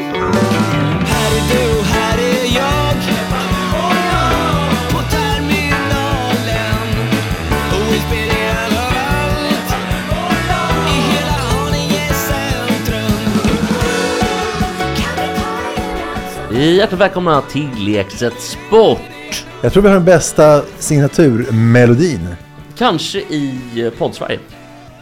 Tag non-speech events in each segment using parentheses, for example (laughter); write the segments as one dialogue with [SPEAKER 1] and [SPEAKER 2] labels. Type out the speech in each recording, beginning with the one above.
[SPEAKER 1] Här är du, här är jag På terminalen Och inspirerad av allt I hela Haninge centrum
[SPEAKER 2] Hjärtligt välkomna till Lekset Sport!
[SPEAKER 3] Jag tror vi har den bästa signaturmelodin.
[SPEAKER 2] Kanske i eh, poddsverige.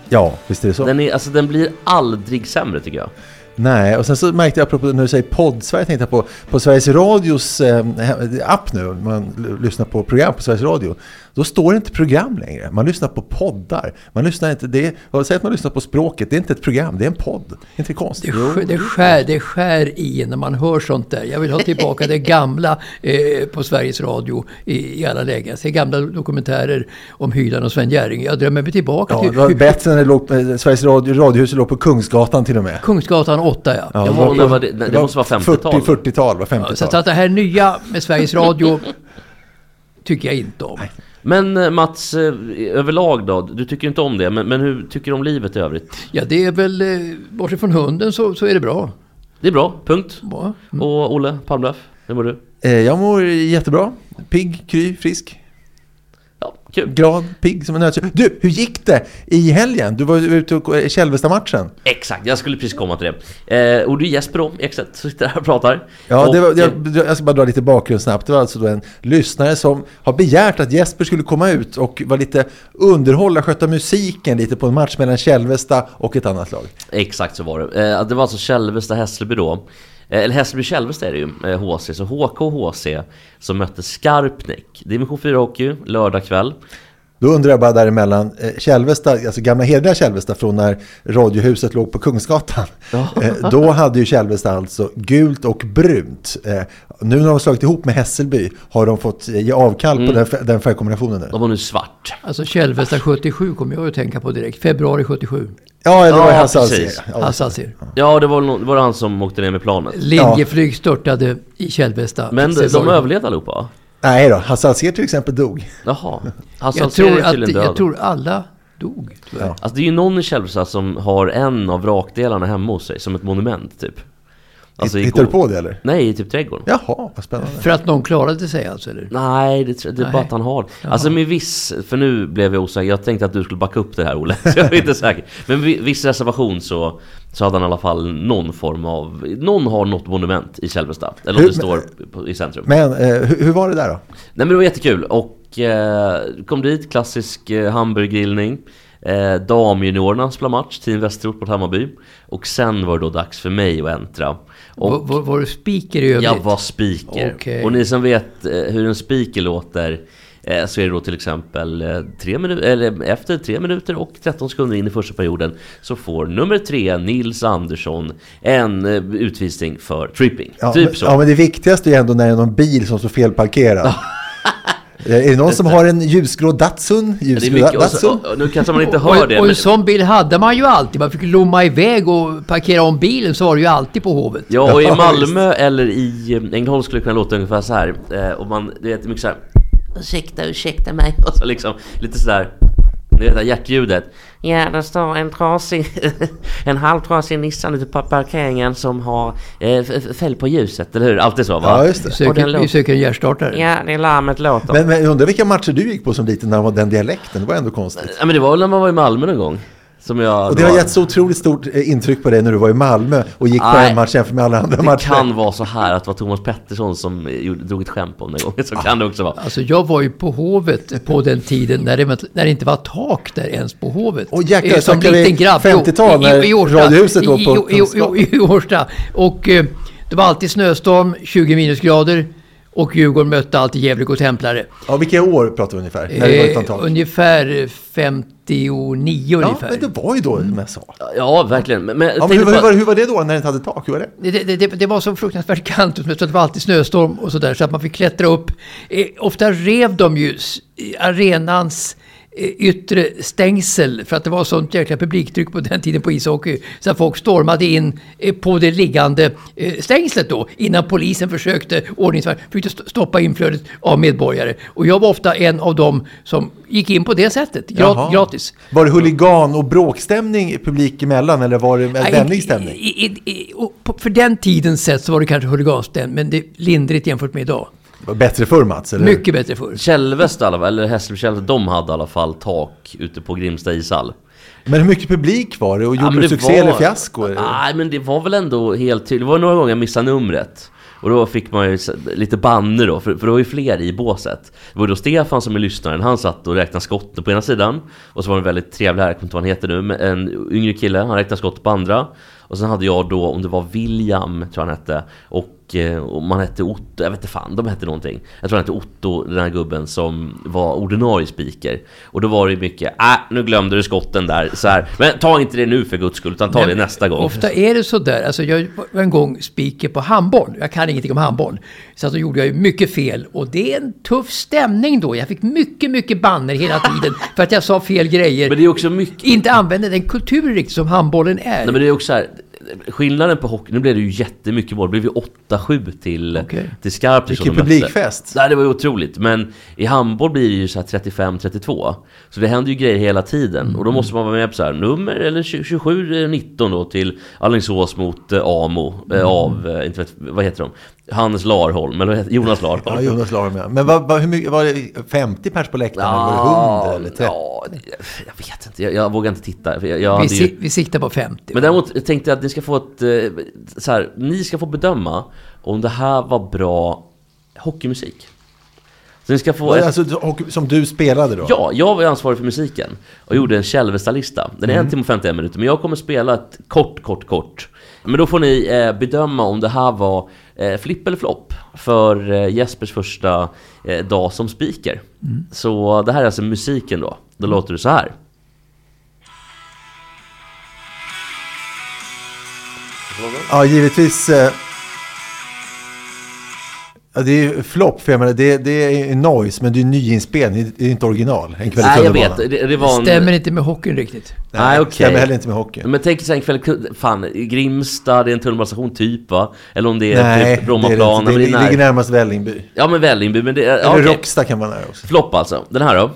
[SPEAKER 3] Ja, visst är det så?
[SPEAKER 2] Den, är, alltså, den blir aldrig sämre tycker jag.
[SPEAKER 3] Nej, och sen så märkte jag apropå när du säger podd-Sverige, tänkte jag på, på Sveriges Radios eh, he- app nu, om man l- lyssnar på program på Sveriges Radio, då står det inte program längre. Man lyssnar på poddar. Man lyssnar inte, det är, säg att man lyssnar på språket, det är inte ett program, det är en podd. Är inte det
[SPEAKER 4] Det
[SPEAKER 3] konstigt?
[SPEAKER 4] skär, det, skär, det skär i när man hör sånt där. Jag vill ha tillbaka det gamla eh, på Sveriges Radio i, i alla lägen. Jag ser gamla dokumentärer om Hyland och Sven Jerring. Jag drömmer mig tillbaka
[SPEAKER 3] Ja,
[SPEAKER 4] till
[SPEAKER 3] det var
[SPEAKER 4] hur-
[SPEAKER 3] bättre när det låg, eh, Sveriges Radio, Radiohuset låg på Kungsgatan till och med.
[SPEAKER 4] Kungsgatan 8 ja.
[SPEAKER 3] Ja,
[SPEAKER 4] Jag
[SPEAKER 2] var-
[SPEAKER 4] var-
[SPEAKER 2] när var det? Det måste vara 50-tal.
[SPEAKER 3] 40, 40-tal, va?
[SPEAKER 4] så
[SPEAKER 3] 50-tal.
[SPEAKER 4] att det här nya med Sveriges Radio tycker jag inte om.
[SPEAKER 2] Men eh, Mats, eh, överlag då? Du tycker ju inte om det, men, men hur tycker du om livet i övrigt?
[SPEAKER 4] Ja, det är väl, eh, bortsett från hunden så, så är det bra.
[SPEAKER 2] Det är bra, punkt.
[SPEAKER 4] bra.
[SPEAKER 3] Mm.
[SPEAKER 2] Och Olle Palmlöf, hur mår du?
[SPEAKER 3] Eh, Jag mår jättebra. Pigg, kry, frisk.
[SPEAKER 2] Ja, kul.
[SPEAKER 3] glad, pigg som en nötkött. Du, hur gick det i helgen? Du var ju ute och eh, Kälvestad-matchen.
[SPEAKER 2] Exakt, jag skulle precis komma till det. Eh, och det är Jesper då, Ekstedt, som sitter här och pratar.
[SPEAKER 3] Ja, det
[SPEAKER 2] Och,
[SPEAKER 3] var,
[SPEAKER 2] eh,
[SPEAKER 3] jag, jag ska bara dra lite bakgrund snabbt. Det var alltså då en lyssnare som har begärt att Jesper skulle komma ut och vara lite underhålla, sköta musiken lite på en match mellan Kälvestad och ett annat lag.
[SPEAKER 2] Exakt så var det. Eh, Det var alltså Kälvestad-Hässelby då. Eh, Eller Hässelby-Kälvestad är det ju, eh, HC. Så HKHC som mötte Skarpnäck. Division 4 Hockey, lördag kväll.
[SPEAKER 3] Då undrar jag bara däremellan, eh, Kälvestad, alltså gamla hederliga Kälvestad från när Radiohuset låg på Kungsgatan. Eh, Då hade ju Kälvestad alltså gult och brunt. Eh, Nu när de har slagit ihop med Hässelby har de fått eh, ge avkall
[SPEAKER 2] Mm.
[SPEAKER 3] på den, fär- den färgkombinationen nu.
[SPEAKER 2] De var nu svart.
[SPEAKER 4] Alltså Kälvesta 77 kommer jag att tänka på direkt. Februari 77.
[SPEAKER 3] Ja, det var
[SPEAKER 2] Ja,
[SPEAKER 3] ja, Hasse
[SPEAKER 2] precis.
[SPEAKER 3] Alsén. Ja,
[SPEAKER 4] Hassan ser.
[SPEAKER 2] Ja, det var, nog- det var han som åkte ner med planet.
[SPEAKER 4] Linjeflyg störtade i Kälvesta.
[SPEAKER 2] Men de, de
[SPEAKER 4] Februari.
[SPEAKER 2] överlevde allihopa? va?
[SPEAKER 3] Nej då, Hasse Alsén till exempel dog.
[SPEAKER 2] Jaha. Alltså, Hassan
[SPEAKER 4] Jag tror,
[SPEAKER 2] är
[SPEAKER 4] att,
[SPEAKER 2] tydligen död.
[SPEAKER 4] jag tror alla dog. Tror jag.
[SPEAKER 2] Alltså det är ju någon i Kälvestad som har en av vrakdelarna hemma hos sig, som ett monument typ. Alltså, i
[SPEAKER 3] Hittar du
[SPEAKER 2] går-
[SPEAKER 3] på det eller?
[SPEAKER 2] Nej, i typ trädgården.
[SPEAKER 3] Jaha, vad spännande.
[SPEAKER 4] För att någon klarade sig alltså? Eller?
[SPEAKER 2] Nej, det, tror- det är
[SPEAKER 4] Nej.
[SPEAKER 2] bara att han har Alltså med viss, för nu blev jag osäker, jag tänkte att du skulle backa upp det här Olle, (laughs) så jag är inte säker. Men med viss reservation så, så hade han i alla fall någon form av, någon har något monument i Kälvestad. Eller om
[SPEAKER 3] Hur-
[SPEAKER 2] det står på- i centrum.
[SPEAKER 3] Men eh, hur, hur var det där då?
[SPEAKER 2] Nej men det var jättekul och eh, kom dit, klassisk eh, hamburgergrillning. Eh, damjuniorerna spelade match, Team Västerort mot Hammarby. Och sen var det då dags för mig att äntra. Och
[SPEAKER 4] Var, var, var du speaker i övrigt?
[SPEAKER 2] jag var speaker.
[SPEAKER 4] Okej.
[SPEAKER 2] Och ni som vet eh, hur en speaker låter eh, så är det då till exempel eh, tre minu- eller efter 3 minuter och 13 sekunder in i första perioden så får nummer 3, Nils Andersson, en eh, utvisning för tripping.
[SPEAKER 3] Ja,
[SPEAKER 2] typ
[SPEAKER 3] men,
[SPEAKER 2] så.
[SPEAKER 3] Ja, men det viktigaste är ju ändå när det är någon bil som står felparkerad. Eh, är det
[SPEAKER 2] (laughs)
[SPEAKER 3] någon som har en ljusgrå Datsun?
[SPEAKER 2] det är
[SPEAKER 3] Ljusgrå
[SPEAKER 2] mycket, och så,
[SPEAKER 3] Datsun?
[SPEAKER 2] och, och, nu kanske man inte hör
[SPEAKER 4] och,
[SPEAKER 2] det.
[SPEAKER 4] och
[SPEAKER 2] men-
[SPEAKER 4] en sån bil hade man ju alltid. Man fick lomma iväg och parkera om bilen så var det ju alltid på Hovet.
[SPEAKER 2] Ja, och i
[SPEAKER 3] Ja,
[SPEAKER 2] Malmö eller i eh, Ängelholm skulle det kunna låta ungefär så här. Eh, och man, det är mycket så här. Ursäkta, ursäkta mig. Och (laughs) så liksom, lite sådär. Ni vet det där hjärtljudet. Ja, det står en trasig, (laughs) en halvtrasig Nissan ute på parkeringen som har eh, f- f- fäll på ljuset, eller hur? Alltid så va?
[SPEAKER 3] Ja, just det.
[SPEAKER 4] Vi
[SPEAKER 2] Och den
[SPEAKER 4] söker, vi
[SPEAKER 2] låter.
[SPEAKER 4] söker en hjärtstartare.
[SPEAKER 2] Ja, det är larmet låter.
[SPEAKER 3] Men, men jag undrar vilka matcher du gick på som liten när det var den dialekten? Det var ändå konstigt.
[SPEAKER 2] ja, men det var väl när man var i Malmö någon gång. Som jag
[SPEAKER 3] Och det har gett så otroligt stort eh, intryck på dig när du var i Malmö och gick på
[SPEAKER 2] Nej.
[SPEAKER 3] en match jämfört med alla andra
[SPEAKER 2] Det
[SPEAKER 3] matcher.
[SPEAKER 2] kan vara så här att det var Thomas Pettersson som eh, gjorde- drog ett skämt om den gången. Så kan det också vara.
[SPEAKER 4] Alltså jag var ju på Hovet på den tiden när det, när det inte var tak där ens på Hovet.
[SPEAKER 3] Åh, jäklar,
[SPEAKER 4] Eh,
[SPEAKER 3] snackar vi 50-tal när
[SPEAKER 4] Årsta.
[SPEAKER 3] Radiohuset låg
[SPEAKER 4] I-
[SPEAKER 3] på
[SPEAKER 4] i- i- i- i Årsta. Och eh, det var alltid snöstorm, 20 minusgrader. Och Djurgården mötte alltid Gävle och Templare.
[SPEAKER 3] Ja, vilka år pratar vi ungefär? När det var ett antal.
[SPEAKER 4] Eh, ungefär 59
[SPEAKER 3] ja,
[SPEAKER 4] ungefär.
[SPEAKER 3] men det var ju
[SPEAKER 4] Mm.
[SPEAKER 3] då USA.
[SPEAKER 2] Ja, verkligen. Men, men,
[SPEAKER 3] Ja, men
[SPEAKER 2] tänk
[SPEAKER 3] hur,
[SPEAKER 2] på-
[SPEAKER 3] hur, var, hur var det då när det inte hade tak? Hur var det?
[SPEAKER 4] Det, det, det, det var så fruktansvärt kallt, och så det var alltid snöstorm och sådär, så att man fick klättra upp. Eh, ofta rev de ju s- arenans eh, yttre stängsel för att det var sånt jäkla publiktryck på den tiden på ishockey. Så att folk stormade in eh, på det liggande eh, stängslet då innan polisen försökte ordningsvakt försökte st- stoppa inflödet av medborgare. Och jag var ofta en av dem som gick in på det sättet,
[SPEAKER 3] Jaha.
[SPEAKER 4] grat- gratis.
[SPEAKER 3] Var det huligan och bråkstämning i publik emellan eller var det en
[SPEAKER 4] Nej,
[SPEAKER 3] vänlig
[SPEAKER 4] inte-
[SPEAKER 3] stämning?
[SPEAKER 4] i- i- i- och på- För den tiden sett så var det kanske huliganstämning, men det är lindrigt jämfört med idag.
[SPEAKER 3] Det var Bättre förr Mats, eller hur?
[SPEAKER 4] Mycket bättre förr.
[SPEAKER 2] Kälvesta i alla fall, eller Hässelby-Kälvesta, de hade i alla fall tak ute på Grimsta ishall.
[SPEAKER 3] Men hur mycket publik var det och gjorde
[SPEAKER 2] men
[SPEAKER 3] du
[SPEAKER 2] det Ah.
[SPEAKER 3] succé eller fiasko?
[SPEAKER 2] Nej, men det var väl ändå helt tydligt. Det var några gånger jag missade numret. Och då fick man ju s- lite banner då, för, för det var ju fler i båset. Det var då Stefan som är lyssnaren, han satt och räknade skott på ena sidan. Och så var det en väldigt trevlig, här, jag kommer inte ihåg vad han heter nu, men en yngre kille, han räknade skott på andra. Och sen hade jag då, om det var William, tror jag han hette, och, eh, och man hette Otto, jag vet inte fan, de hette någonting. Jag tror han hette Otto, den här gubben som var ordinarie speaker. Och då var det ju mycket, äh, nu glömde du skotten där, så här. Men ta inte det nu för guds skull, utan ta det
[SPEAKER 4] Men
[SPEAKER 2] nästa gång.
[SPEAKER 4] Ofta är det sådär. Alltså jag var en gång speaker på handboll. Jag kan ingenting om handboll. Så att då gjorde jag ju mycket fel. Och det är en tuff stämning då. Jag fick mycket, mycket banner hela
[SPEAKER 2] (laughs)
[SPEAKER 4] tiden för att jag sa fel grejer.
[SPEAKER 2] Men det är också mycket...
[SPEAKER 4] Inte använde den kultur riktigt som handbollen är.
[SPEAKER 2] Nej, men det är också så här, skillnaden på hockey, nu blev det ju jättemycket mål, det blev ju 8-7 till,
[SPEAKER 4] Okej.
[SPEAKER 2] till Skarp.
[SPEAKER 3] Vilken publikfest.
[SPEAKER 2] Nej, det var ju otroligt. Men i handboll blir det ju så här 35-32. Så det händer ju grejer hela tiden. Och då måste man vara med på så här, nummer eller 27-19 då till Alingsås mot eh, AMO, eh, av, eh, inte vet, vad heter de? Hans Larholm, eller vad heter- Jonas Larholm.
[SPEAKER 3] Ja, Jonas Larum ja. Men vad, vad, hur mycket, var det 50 pers på läktaren? eller var det 100 eller 30?
[SPEAKER 2] Ja, jag vet inte, jag, jag vågar inte titta. för Jag, jag
[SPEAKER 4] vi,
[SPEAKER 2] hade ju...
[SPEAKER 4] si- vi siktar på 50.
[SPEAKER 2] Men däremot tänkte jag att ni ska få ett... eh, Så här, ni ska få bedöma om det här var bra hockeymusik. Så ni ska få... Ett,
[SPEAKER 3] Alltså, och, som du spelade då?
[SPEAKER 2] ja, jag var ju ansvarig för musiken och gjorde en Kälvesta-lista. Den är
[SPEAKER 3] Mm.
[SPEAKER 2] en timme och 51 minuter, men jag kommer spela ett kort, kort, kort. Men då får ni eh, bedöma om det här var eh, flipp eller flopp för eh, Jespers första eh, dag som speaker.
[SPEAKER 3] Mm.
[SPEAKER 2] Så det här är alltså musiken då. Då låter det så här.
[SPEAKER 3] Ja, givetvis. eh, Ja, det är ju flopp, för jag menar, det, det är noise, men det är nyinspelning, det är inte original. En kväll i
[SPEAKER 2] Nej, jag
[SPEAKER 3] tunnelbanan.
[SPEAKER 2] vet. Det, det var en...
[SPEAKER 4] Stämmer inte med hockeyn riktigt.
[SPEAKER 3] Nej,
[SPEAKER 2] Nej,
[SPEAKER 3] det Stämmer
[SPEAKER 2] okej.
[SPEAKER 3] heller inte med hockey.
[SPEAKER 2] Men tänk så här en kväll, fan, i Grimsta, det är en tunnelbanestation typ va? Eller om det är
[SPEAKER 3] Nej,
[SPEAKER 2] typ
[SPEAKER 3] det är
[SPEAKER 2] Brommaplan, men
[SPEAKER 3] det, inte.
[SPEAKER 2] det
[SPEAKER 3] det,
[SPEAKER 2] är
[SPEAKER 3] det ligger
[SPEAKER 2] när...
[SPEAKER 3] närmast Vällingby.
[SPEAKER 2] Ja men Vällingby, men det är... Ja,
[SPEAKER 3] Eller
[SPEAKER 2] okej.
[SPEAKER 3] Rocksta kan vara nära också.
[SPEAKER 2] Flopp alltså. Den här då?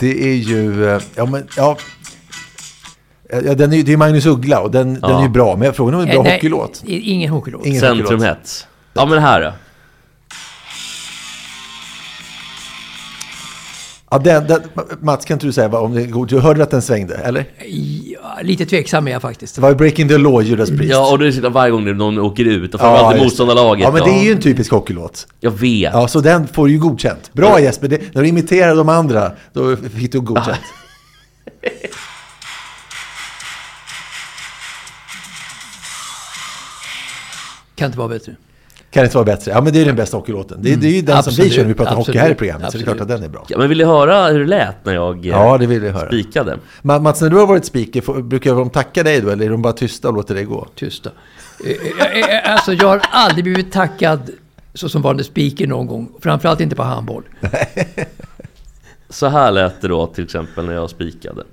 [SPEAKER 3] Det är ju, eh, ja men, ja. ja den är, ju- det är Magnus Uggla och den, den är ju bra, men frågan är om det är en bra
[SPEAKER 4] Nej,
[SPEAKER 3] hockeylåt.
[SPEAKER 4] i- Ingen hockeylåt.
[SPEAKER 3] Ingen hockeylåt.
[SPEAKER 2] Centrumhets. Ja men här då?
[SPEAKER 3] Ja, den, den, Mats, kan inte du säga vad- om det är god? Du hörde att den svängde, eller?
[SPEAKER 4] Ja, lite tveksam är jag faktiskt.
[SPEAKER 3] Det var ju Breaking the Law, Judas Priest.
[SPEAKER 2] Ja och det är så varje gång när någon åker ut, och framförallt i
[SPEAKER 3] just det.
[SPEAKER 2] motståndarlaget.
[SPEAKER 3] Ja, men det är ju en typisk hockeylåt.
[SPEAKER 2] Jag vet.
[SPEAKER 3] Ja, så den får ju godkänt. Bra Jesper, det, när du imiterar de andra, då fick du godkänt.
[SPEAKER 4] Kan inte vara bättre.
[SPEAKER 3] Kan inte vara bättre. Ja, men det är den bästa hockeylåten. Det, det är ju den som vi
[SPEAKER 4] Absolut,
[SPEAKER 3] kör när vi pratar hockey
[SPEAKER 4] absolut,
[SPEAKER 3] här i programmet, så det är klart
[SPEAKER 4] absolut.
[SPEAKER 3] att den är bra.
[SPEAKER 2] Ja, men vill ni höra hur det lät när jag eh,
[SPEAKER 3] Ja, det vill jag höra.
[SPEAKER 2] spikade?
[SPEAKER 3] Ma- Mats, när du har varit speaker, får, brukar de tacka dig då, eller är de bara tysta och låter dig gå?
[SPEAKER 4] tysta. Eh, eh, eh, eh, Alltså, jag har aldrig blivit tackad så som varande speaker någon gång. Framförallt inte på handboll.
[SPEAKER 2] Så här lät det då till exempel när jag spikade.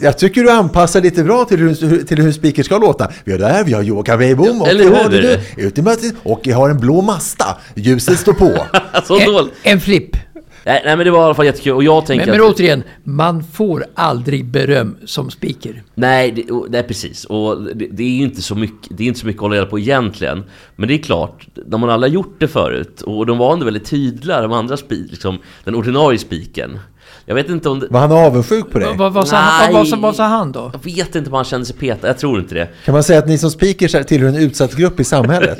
[SPEAKER 3] Jag tycker du anpassar lite bra till hur, hur- till hur speaker ska låta. Vi har det här, vi har Joakim Weibom, och
[SPEAKER 2] eller
[SPEAKER 3] vi har
[SPEAKER 2] hur?
[SPEAKER 3] det där. Ut i mötet, och jag har en blå masta. Ljuset står (laughs) på.
[SPEAKER 2] Alltså
[SPEAKER 4] En,
[SPEAKER 2] dåligt.
[SPEAKER 4] en flipp.
[SPEAKER 2] Nej, nej men det var i alla fall jättekul och jag tänker
[SPEAKER 4] Men, men
[SPEAKER 2] att...
[SPEAKER 4] återigen, man får aldrig beröm som speaker.
[SPEAKER 2] Nej, det, och- nej precis. Och det, det är ju inte så mycket, det är inte så mycket att hålla reda på egentligen. Men det är klart, när man aldrig har gjort det förut, och de var ändå väldigt tydliga, de andra spi, liksom, den ordinarie spiken. Jag vet inte om det...
[SPEAKER 3] Var han avundsjuk på dig?
[SPEAKER 4] Eh, Vad, vad, sa han,
[SPEAKER 2] Nej.
[SPEAKER 4] vad, vad, vad sa han då?
[SPEAKER 2] Jag vet inte om han kände sig petad, jag tror inte det.
[SPEAKER 3] Kan man säga att ni som speakers är tillhör en utsatt grupp i (laughs) samhället?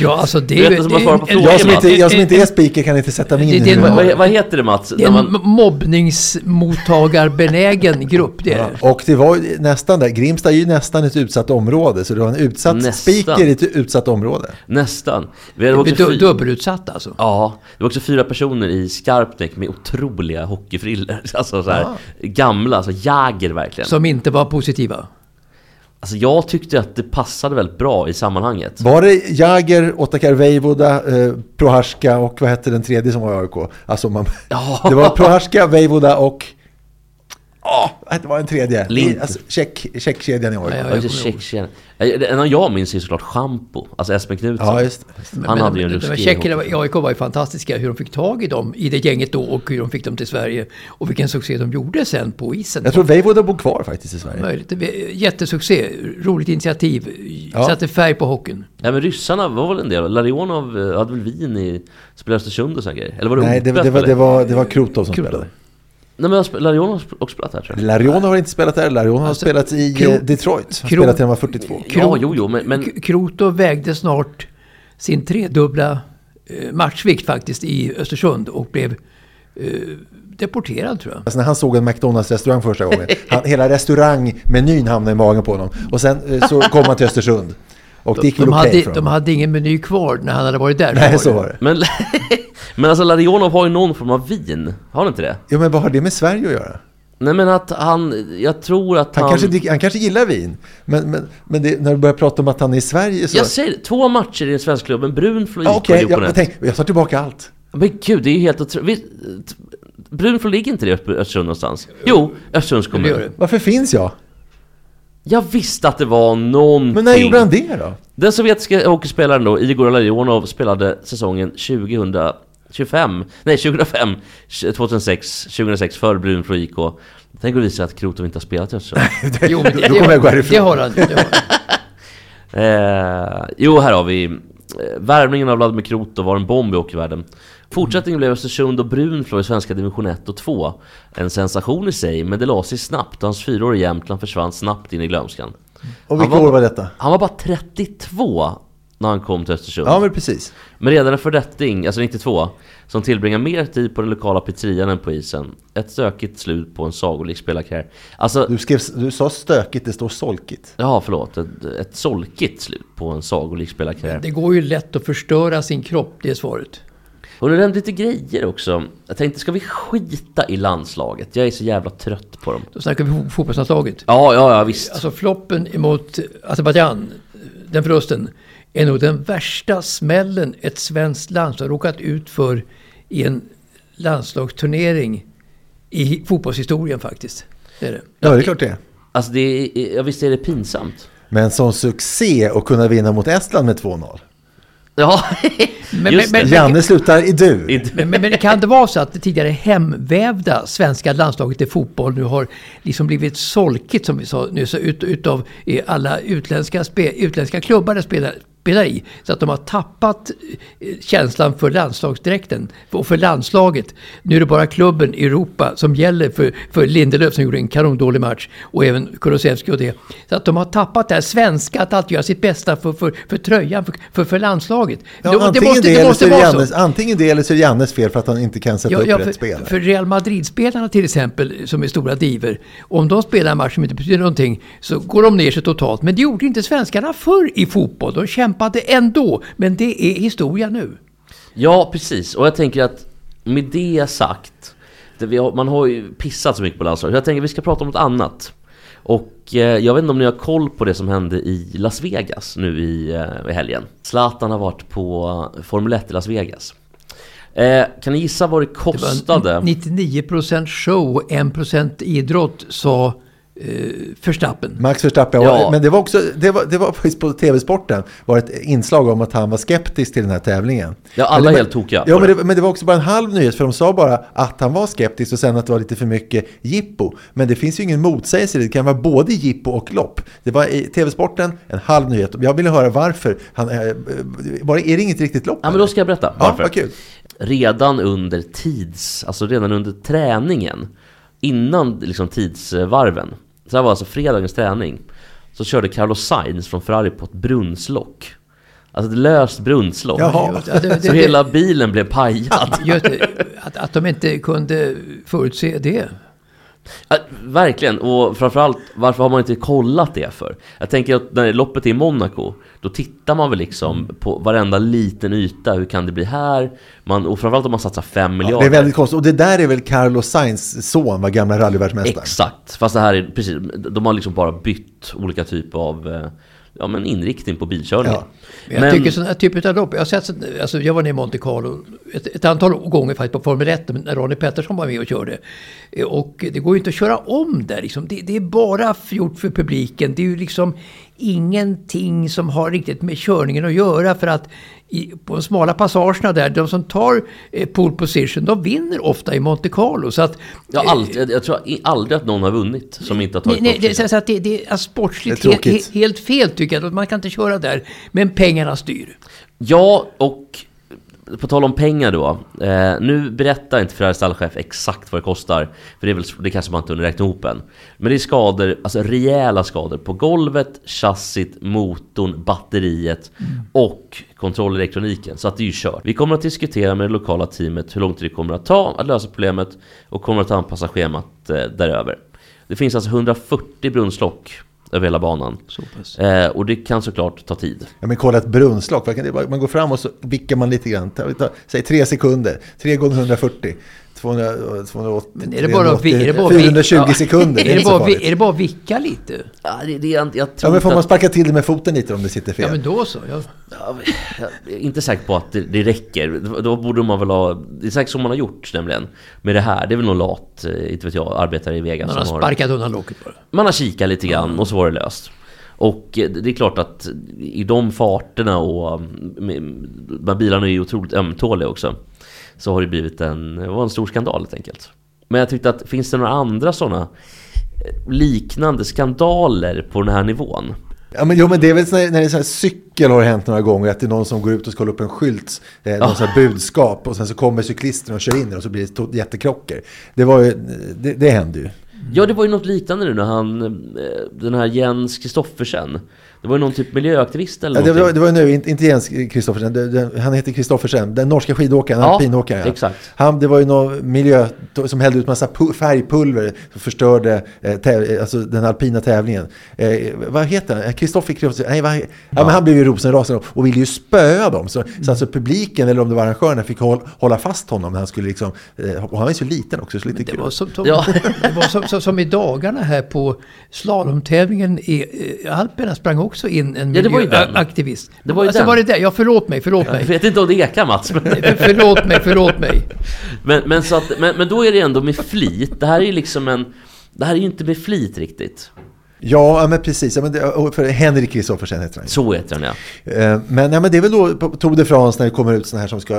[SPEAKER 4] Ja, alltså det
[SPEAKER 2] Berätta
[SPEAKER 4] ju-
[SPEAKER 2] som
[SPEAKER 4] det
[SPEAKER 2] man
[SPEAKER 4] ju
[SPEAKER 2] svarar på
[SPEAKER 4] en-
[SPEAKER 2] frågor.
[SPEAKER 3] Jag som inte, jag som
[SPEAKER 4] en-
[SPEAKER 3] inte är speaker kan inte sätta mig in
[SPEAKER 4] Det-
[SPEAKER 3] i
[SPEAKER 4] det är
[SPEAKER 3] hur
[SPEAKER 4] en-
[SPEAKER 3] det
[SPEAKER 2] Vad,
[SPEAKER 3] var.
[SPEAKER 2] vad heter det Mats?
[SPEAKER 4] Det är
[SPEAKER 2] När
[SPEAKER 4] en
[SPEAKER 2] man,
[SPEAKER 4] m- mobbningsmottagarbenägen grupp det är det.
[SPEAKER 3] Och det var ju nästan där, Grimsta är ju nästan ett utsatt område, så det var en utsatt
[SPEAKER 2] Nästan.
[SPEAKER 3] speaker i ett utsatt område.
[SPEAKER 2] nästan. Vi hade
[SPEAKER 4] Vi är
[SPEAKER 2] också
[SPEAKER 4] du-
[SPEAKER 2] fy-
[SPEAKER 4] dubbelutsatta alltså.
[SPEAKER 2] Ja, det var också fyra personer i Skarpnäck med otroliga hockeyfrillor. (laughs) Alltså så här, gamla, alltså Jäger verkligen.
[SPEAKER 4] Som inte var positiva.
[SPEAKER 2] Alltså jag tyckte att det passade väldigt bra i sammanhanget.
[SPEAKER 3] Var det Jagr, Otakar Vejvoda, eh, Prohaska och vad hette den tredje som var i AIK? Alltså man,
[SPEAKER 2] Ja.
[SPEAKER 3] (laughs) Det var Prohaska, Vejvoda och... Oh, det var en tredje.
[SPEAKER 2] Lind.
[SPEAKER 3] Alltså, check, checkkedjan i AIK.
[SPEAKER 4] Ja,
[SPEAKER 2] Ja,
[SPEAKER 4] jag
[SPEAKER 2] just
[SPEAKER 4] kommer ihåg.
[SPEAKER 2] Tjeckien. Ja, det- En av jag minns är såklart Schampo, alltså Espen Knutsson.
[SPEAKER 3] Ja, just det.
[SPEAKER 2] Han hade ju en
[SPEAKER 4] Men- men
[SPEAKER 2] ruskig
[SPEAKER 4] Tjeckerna
[SPEAKER 2] hockey.
[SPEAKER 4] var- i AIK var ju fantastiska hur de fick tag i dem i det gänget då och hur de fick dem till Sverige. Och vilken succé de gjorde sen på isen.
[SPEAKER 3] Jag tror Vejvoda bor kvar faktiskt i Sverige.
[SPEAKER 4] Möjligt. Jättesuccé, roligt initiativ.
[SPEAKER 3] Ja.
[SPEAKER 4] Satte färg på hockeyn.
[SPEAKER 2] Ja men ryssarna var väl en del? Larionov eh, hade väl vin i... Spelade Östersund och sådana grejer? Eller var det
[SPEAKER 3] Nej, det,
[SPEAKER 2] Opet,
[SPEAKER 3] det, var,
[SPEAKER 2] eller?
[SPEAKER 3] det, var, det var Krutov som
[SPEAKER 4] Krutov.
[SPEAKER 3] spelade.
[SPEAKER 2] Nej men jag sp- Larionov har sp- också spelat här tror jag.
[SPEAKER 3] Larion har inte spelat där. Larion har
[SPEAKER 4] Alltså,
[SPEAKER 3] spelat i
[SPEAKER 4] Kro-
[SPEAKER 3] eh, Detroit. Han
[SPEAKER 4] Kro-
[SPEAKER 3] spelade till han var 42.
[SPEAKER 2] Ja, jo, jo, men... men
[SPEAKER 4] K- Kroto vägde snart sin tredubbla eh, matchvikt faktiskt i Östersund och blev eh, deporterad tror jag.
[SPEAKER 3] Alltså när han såg en McDonalds-restaurang första gången, han, hela restaurangmenyn hamnade i magen på honom. Och sen eh, så kom han till Östersund. Och det gick väl
[SPEAKER 4] De
[SPEAKER 3] okej
[SPEAKER 4] hade,
[SPEAKER 3] för
[SPEAKER 4] de
[SPEAKER 3] honom.
[SPEAKER 4] hade ingen meny kvar när han hade varit där.
[SPEAKER 3] Nej, så var det.
[SPEAKER 2] men, (laughs) men alltså Larionov har ju någon form av vin. Har han inte det?
[SPEAKER 3] Ja, men vad har det med Sverige att göra?
[SPEAKER 2] Nej men att han... Jag tror att
[SPEAKER 3] Han,
[SPEAKER 2] han...
[SPEAKER 3] kanske, dricker- han kanske gillar vin, men, men, men det, när du börjar prata om att han är i Sverige så...
[SPEAKER 2] Jag säger det, två matcher i den svenska klubben. Brunflo
[SPEAKER 3] ja,
[SPEAKER 2] IK
[SPEAKER 3] okej,
[SPEAKER 2] gjorde på
[SPEAKER 3] jag,
[SPEAKER 2] den.
[SPEAKER 3] jag, tänk, jag tar tillbaka allt.
[SPEAKER 2] Men gud, det är ju helt otroligt. Vi- t- Brunflo ligger inte i Ö- Östersund någonstans? Jo, Östersunds
[SPEAKER 4] Det gör
[SPEAKER 2] kommun.
[SPEAKER 4] det.
[SPEAKER 3] Varför finns jag?
[SPEAKER 2] Jag visste att det var någonting.
[SPEAKER 3] Men när gjorde han det då?
[SPEAKER 2] Den sovjetiska hockeyspelaren då, Igor Larionov, spelade säsongen 2025, nej 2005, 2006, 2006 för Brunflo IK. Tänk att visa att Krotov inte har spelat i Östersund.
[SPEAKER 4] Jo, men
[SPEAKER 3] Då kommer jag gå
[SPEAKER 4] Det
[SPEAKER 3] härifrån.
[SPEAKER 4] har han. Det har
[SPEAKER 3] (laughs)
[SPEAKER 4] han.
[SPEAKER 2] Eh, jo, här har vi. eh, Värvningen av Vladimir Krotov var en bomb i hockeyvärlden. Fortsättningen blev Östersund och Brunflo i svenska division 1 och 2. En sensation i sig, men det la sig snabbt och hans fyra år i Jämtland försvann snabbt in i glömskan.
[SPEAKER 3] Och vilka
[SPEAKER 2] Han var-
[SPEAKER 3] år var detta?
[SPEAKER 2] Han var bara 32 när han kom till Östersund.
[SPEAKER 3] Ja, men precis.
[SPEAKER 2] Men redan en fördetting, alltså 92, som tillbringar mer tid på den lokala pizzerian än på isen. Ett stökigt slut på en sagolik spelarkarriär. Alltså,
[SPEAKER 3] Du, skrev, du sa stökigt, det står solkigt.
[SPEAKER 2] ja förlåt, ett, ett solkigt slut på en sagolik spelarkarriär.
[SPEAKER 4] det går ju lätt att förstöra sin kropp, det är svaret.
[SPEAKER 2] Och du nämnde lite grejer också. Jag tänkte, ska vi skita i landslaget? Jag är så jävla trött på dem.
[SPEAKER 4] Då snackar vi fo- fotbollslandslaget.
[SPEAKER 2] Ja, ja, ja visst.
[SPEAKER 4] Alltså floppen emot Azerbajdzjan, den förlusten, är nog den värsta smällen ett svenskt landslag råkat ut för i en landslagsturnering i fotbollshistorien faktiskt. Det är det.
[SPEAKER 3] Ja, det är klart det är.
[SPEAKER 2] Alltså det är, ja, visst är det pinsamt?
[SPEAKER 3] Men som succé att kunna vinna mot Estland med 2-0.
[SPEAKER 2] Ja, (laughs)
[SPEAKER 4] Men,
[SPEAKER 2] Just
[SPEAKER 4] men, men,
[SPEAKER 3] Janne slutar i du.
[SPEAKER 2] inte-
[SPEAKER 4] men, men, men kan det vara så att det tidigare hemvävda svenska landslaget i fotboll nu har liksom blivit solkigt, som vi sa nyss, ut, utav eh, alla utländska, spe, utländska klubbar det spelar, spelar i. Så att de har tappat eh, känslan för landslagsdräkten och för landslaget. Nu är det bara klubben i Europa som gäller för, för Lindelöf som gjorde en kanondålig match och även Kulusevski och det. Så att de har tappat det här svenska, att alltid göra sitt bästa för, för, för tröjan, för, för, för landslaget.
[SPEAKER 3] Ja,
[SPEAKER 4] Det- det
[SPEAKER 3] antingen,
[SPEAKER 4] måste-
[SPEAKER 3] det,
[SPEAKER 4] det
[SPEAKER 3] eller
[SPEAKER 4] måste
[SPEAKER 3] så är det
[SPEAKER 4] vara så.
[SPEAKER 3] Jannes, antingen det eller så är det Jannes fel för att han inte kan sätta upp rätt
[SPEAKER 4] för,
[SPEAKER 3] spelare.
[SPEAKER 4] för Real Madrid-spelarna till exempel, som är stora diver, om de spelar en match som inte betyder någonting så går de ner sig totalt. Men det gjorde inte svenskarna förr i fotboll. De kämpade ändå, men det är historia nu.
[SPEAKER 2] ja, precis. Och jag tänker att med det sagt, det vi har, man har ju pissat så mycket på landslaget. Jag tänker vi ska prata om något annat. Och eh, jag vet inte om ni har koll på det som hände i Las Vegas nu i, eh, i helgen. Zlatan har varit på eh, Formel 1 i Las Vegas. Eh, kan ni gissa vad det
[SPEAKER 4] Det var
[SPEAKER 2] kostade?
[SPEAKER 4] 99% show och 1% idrott, sa eh, Verstappen.
[SPEAKER 3] Max Verstappen,
[SPEAKER 2] Ja.
[SPEAKER 3] men det var också, det var, det var faktiskt på TV-sporten, var ett inslag om att han var skeptisk till den här tävlingen.
[SPEAKER 2] Ja, alla
[SPEAKER 3] Men det,
[SPEAKER 2] är helt tokiga
[SPEAKER 3] Ja,
[SPEAKER 2] på
[SPEAKER 3] men det, men det var också bara en halv nyhet, för de sa bara att han var skeptisk och sen att det var lite för mycket jippo. Men det finns ju ingen motsägelse i det, det kan vara både jippo och lopp. Det var i TV-sporten, en halv nyhet. Jag ville höra varför. Han, eh, var det, är det inget riktigt lopp?
[SPEAKER 2] Ja men
[SPEAKER 3] eller?
[SPEAKER 2] då ska jag berätta
[SPEAKER 3] Ja, vad kul.
[SPEAKER 2] redan under tids, alltså redan under träningen, innan liksom tidsvarven. Så det här var alltså fredagens träning. Så körde Carlos Sainz från Ferrari på ett brunnslock. Alltså ett löst brunnslock.
[SPEAKER 3] Jaha.
[SPEAKER 4] Ja, det- det-
[SPEAKER 2] Så
[SPEAKER 4] det-
[SPEAKER 2] hela bilen blev pajad.
[SPEAKER 4] Just det, att, att de inte kunde förutse det.
[SPEAKER 2] Ja, Äh, verkligen, och framförallt varför har man inte kollat det för? Jag tänker att när loppet är i Monaco, då tittar man väl liksom på varenda liten yta, hur kan det bli här? Man, och framförallt om man satsar 5
[SPEAKER 3] Ja,
[SPEAKER 2] miljarder.
[SPEAKER 3] det är väldigt konstigt. Och det där är väl Carlos Sainz son, var gamla rallyvärldsmästare.
[SPEAKER 2] Exakt, fast det här är precis, de har liksom bara bytt olika typer av eh, ja, men inriktning på bilkörningen.
[SPEAKER 3] Ja.
[SPEAKER 4] Men jag tycker sådana här typer av lopp, jag, har sett, sån- alltså jag var nere i Monte Carlo ett, ett antal gånger faktiskt på Formel 1 när Ronnie Pettersson var med och körde. Eh, Och det går ju inte att köra om där liksom. det, det är bara gjort för publiken. Det är ju liksom ingenting som har riktigt med körningen att göra för att i, på de smala passagerna där, de som tar eh, pole position, de vinner ofta i Monte Carlo. Så att,
[SPEAKER 2] jag, har aldrig, jag, jag tror i- aldrig att någon har vunnit som inte har tagit
[SPEAKER 4] Nej, nej,
[SPEAKER 2] bort
[SPEAKER 4] det,
[SPEAKER 2] sig.
[SPEAKER 4] så att det, det är sportsligt
[SPEAKER 3] Det är tråkigt.
[SPEAKER 4] helt, helt fel tycker jag. Man kan inte köra där, men pengarna styr.
[SPEAKER 2] Ja, och på tal om pengar då. Eh, nu berättar inte Ferraris stallchef exakt vad det kostar. För det, är väl, det kanske man inte hunnit räkna ihop än. Men det är skador, alltså rejäla skador på golvet, chassit, motorn, batteriet
[SPEAKER 3] Mm.
[SPEAKER 2] och kontrollelektroniken. Så att det är ju kört. Vi kommer att diskutera med det lokala teamet hur lång tid det kommer att ta att lösa problemet och kommer att anpassa schemat eh, däröver. Det finns alltså 140 brunnslock över hela banan. Eh, och det kan såklart ta tid.
[SPEAKER 3] Ja, men kolla ett brunnslock. vad kan det vara? Man går fram och så vickar man lite grann. Ta- ta- Säg tre sekunder. Tre gånger 140. 200, 280,
[SPEAKER 4] Men är det bara att vi- är det bara att vi-
[SPEAKER 3] 420
[SPEAKER 4] ja. (laughs)
[SPEAKER 3] sekunder. Det är,
[SPEAKER 4] är, det
[SPEAKER 3] inte så
[SPEAKER 4] bara, vi-
[SPEAKER 3] farligt.
[SPEAKER 4] är det bara att vicka lite?
[SPEAKER 2] Ja, det, det, jag, jag
[SPEAKER 3] Ja,
[SPEAKER 2] tror
[SPEAKER 3] men
[SPEAKER 2] inte
[SPEAKER 3] får man
[SPEAKER 2] att-
[SPEAKER 3] sparka till det med foten lite om det sitter fel?
[SPEAKER 4] Ja, men då så. Ja.
[SPEAKER 2] Jag är inte säker på att det, det räcker. Då- Då borde man väl ha... Det är säkert som man har gjort nämligen. Med det här. Det är väl någon lat, eh, inte vet jag, arbetare i Vegas
[SPEAKER 4] Man har
[SPEAKER 2] som har...
[SPEAKER 4] sparkat undan locket bara.
[SPEAKER 2] Man har kikat lite grann och så var det löst. Och eh, det är klart att i de farterna och... mm, Med, men bilarna är ju otroligt ömtåliga också. Så har det blivit en... Det var en stor skandal helt enkelt. Men jag tyckte att finns det några andra sådana liknande skandaler på den här nivån?
[SPEAKER 3] Ja, men, jo, men det är väl så när, när det är så här cykel har det hänt några gånger att det är någon som går ut och ska hålla upp en skylt, eh,
[SPEAKER 4] Ah.
[SPEAKER 3] någon så här budskap och sen så kommer cyklisten och kör in den och så blir det to- jättekrockor. Det, var ju, det, det händer ju.
[SPEAKER 2] Ja, det var ju något liknande nu när han, eh, den här Jens Kristoffersen. Det var ju någon typ miljöaktivist eller
[SPEAKER 3] Ja, det, var,
[SPEAKER 2] någonting.
[SPEAKER 3] det var nu, inte, inte Jens Kristoffersen, det, det, han heter Kristoffersen, den norska skidåkaren,
[SPEAKER 2] Ja,
[SPEAKER 3] alpinåkaren.
[SPEAKER 2] exakt.
[SPEAKER 3] Han, det var ju någon miljö som hällde ut massa pu- färgpulver som förstörde eh, täv- eh, alltså den alpina tävlingen. Eh, vad heter han? Eh, Kristoffer Kristoffersen? Nej, vad, ja. men han blev ju rosenrasande och ville ju spöa dem. Så, så alltså publiken, eller om det var arrangörerna, fick håll, hålla fast honom när han skulle liksom... Eh, och han var ju så liten också, så lite
[SPEAKER 4] Det
[SPEAKER 3] kul.
[SPEAKER 4] var som,
[SPEAKER 2] (laughs)
[SPEAKER 4] som,
[SPEAKER 2] Ja.
[SPEAKER 4] det var som, som, som i dagarna här på slalomtävlingen i eh, Alperna sprang också in en
[SPEAKER 2] Ja, det var ju den.
[SPEAKER 4] miljöaktivist.
[SPEAKER 2] Det var ju
[SPEAKER 4] alltså,
[SPEAKER 2] den.
[SPEAKER 4] var det där? Ja, förlåt mig, förlåt
[SPEAKER 2] Jag
[SPEAKER 4] mig.
[SPEAKER 2] vet inte om det ekar Mats. Men,
[SPEAKER 4] förlåt mig, förlåt mig.
[SPEAKER 2] men, men, så att, men, men då är det ändå med flit. Det här är ju liksom en... Det här är ju inte med flit riktigt.
[SPEAKER 3] Ja, ja, men precis. Ja, men det, och för Henrik Kristoffersen heter han. ju.
[SPEAKER 2] Så heter den ja.
[SPEAKER 3] Eh, Men, nej, men det är väl då på Tour de France när det kommer ut sådana här som ska...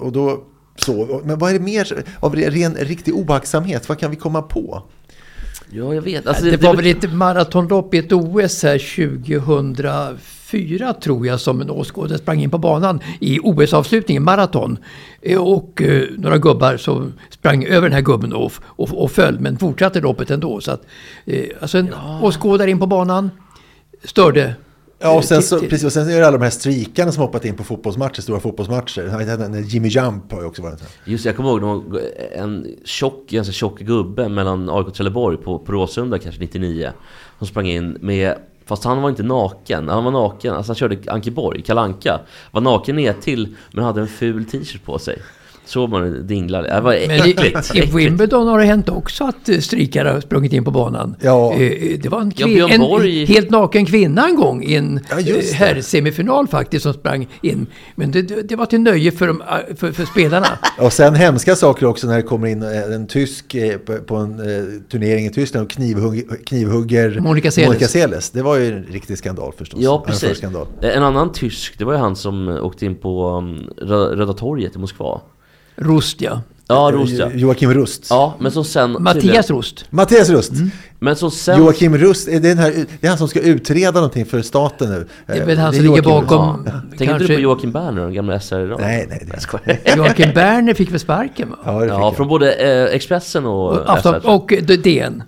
[SPEAKER 3] Och då, så. Men vad är det mer av re- ren riktig oaktsamhet? Vad kan vi komma på?
[SPEAKER 2] Ja, jag vet. Alltså,
[SPEAKER 4] det, var väl ett maratonlopp i ett OS här 2004 tror jag som en åskådare sprang in på banan i OS-avslutningen, maraton. Eh, Och eh, några gubbar som sprang över den här gubben och, och, och föll men fortsatte loppet ändå. Så att, eh, alltså en åskådare in på banan störde.
[SPEAKER 3] Ja, och sen,
[SPEAKER 4] till-
[SPEAKER 3] så,
[SPEAKER 4] till-
[SPEAKER 3] precis, och sen är det alla de här strikarna som hoppat in på fotbollsmatcher, stora fotbollsmatcher. Jag vet inte, den där Jimmy Jump har ju också varit en sån.
[SPEAKER 2] Just det, jag kommer ihåg någon, en tjock, ganska tjock gubbe mellan AIK och Trelleborg på, på Råsunda kanske 99. Som sprang in med, fast han var inte naken. Han var naken, alltså han körde Ankeborg, Kalanka Var naken ner till men hade en ful t-shirt på sig. Så man hur det dinglade. Det var
[SPEAKER 4] Men i,
[SPEAKER 2] äckligt.
[SPEAKER 4] i
[SPEAKER 2] äckligt.
[SPEAKER 4] Wimbledon har det hänt också att eh, strykare har sprungit in på banan.
[SPEAKER 3] Ja.
[SPEAKER 4] Eh, eh, Det var en,
[SPEAKER 2] Ja,
[SPEAKER 4] kvin-
[SPEAKER 2] Björn Borg-
[SPEAKER 4] en helt naken kvinna en gång i en
[SPEAKER 3] Ja, just det.
[SPEAKER 4] eh, herrsemifinal faktiskt som sprang in. Men det, det det var till nöje för, de, eh, för, för
[SPEAKER 3] (laughs)
[SPEAKER 4] spelarna.
[SPEAKER 3] Och sen hemska saker också när det kommer in eh, en tysk eh, på- på en eh, turnering i Tyskland och knivhugg, knivhugger
[SPEAKER 4] Monica Seles.
[SPEAKER 3] Seles. Det var ju en riktig skandal förstås.
[SPEAKER 2] Ja,
[SPEAKER 3] En
[SPEAKER 2] precis.
[SPEAKER 3] förskandal.
[SPEAKER 2] En annan tysk, det var ju han som åkte in på um, Rö- Röda torget i Moskva.
[SPEAKER 4] Rost ja.
[SPEAKER 2] Ja, Rost ja.
[SPEAKER 3] Joakim Rust.
[SPEAKER 2] Ja, men som sen... tydligen-
[SPEAKER 4] Mattias Rost.
[SPEAKER 3] Mattias Rust.
[SPEAKER 2] Men som sen...
[SPEAKER 3] Joakim Rust, är det, den här, det är han som ska utreda någonting för staten nu.
[SPEAKER 4] Det är
[SPEAKER 3] Eh,
[SPEAKER 4] väl han
[SPEAKER 3] det
[SPEAKER 4] som ligger
[SPEAKER 3] Joakim Rust.
[SPEAKER 2] Ja.
[SPEAKER 4] bakom
[SPEAKER 2] Tänker inte du
[SPEAKER 4] kanske-
[SPEAKER 2] på Joakim Berner, den gamla SR-radion?
[SPEAKER 3] Nej, nej, det är
[SPEAKER 2] Jag skojar.
[SPEAKER 4] Joakim Berner fick väl sparken va?
[SPEAKER 3] Ja, det
[SPEAKER 2] (laughs)
[SPEAKER 3] fick
[SPEAKER 2] Ja,
[SPEAKER 3] jag.
[SPEAKER 2] från både eh, Expressen och,
[SPEAKER 4] Och, Afton,
[SPEAKER 2] SR.
[SPEAKER 4] och eh, DN.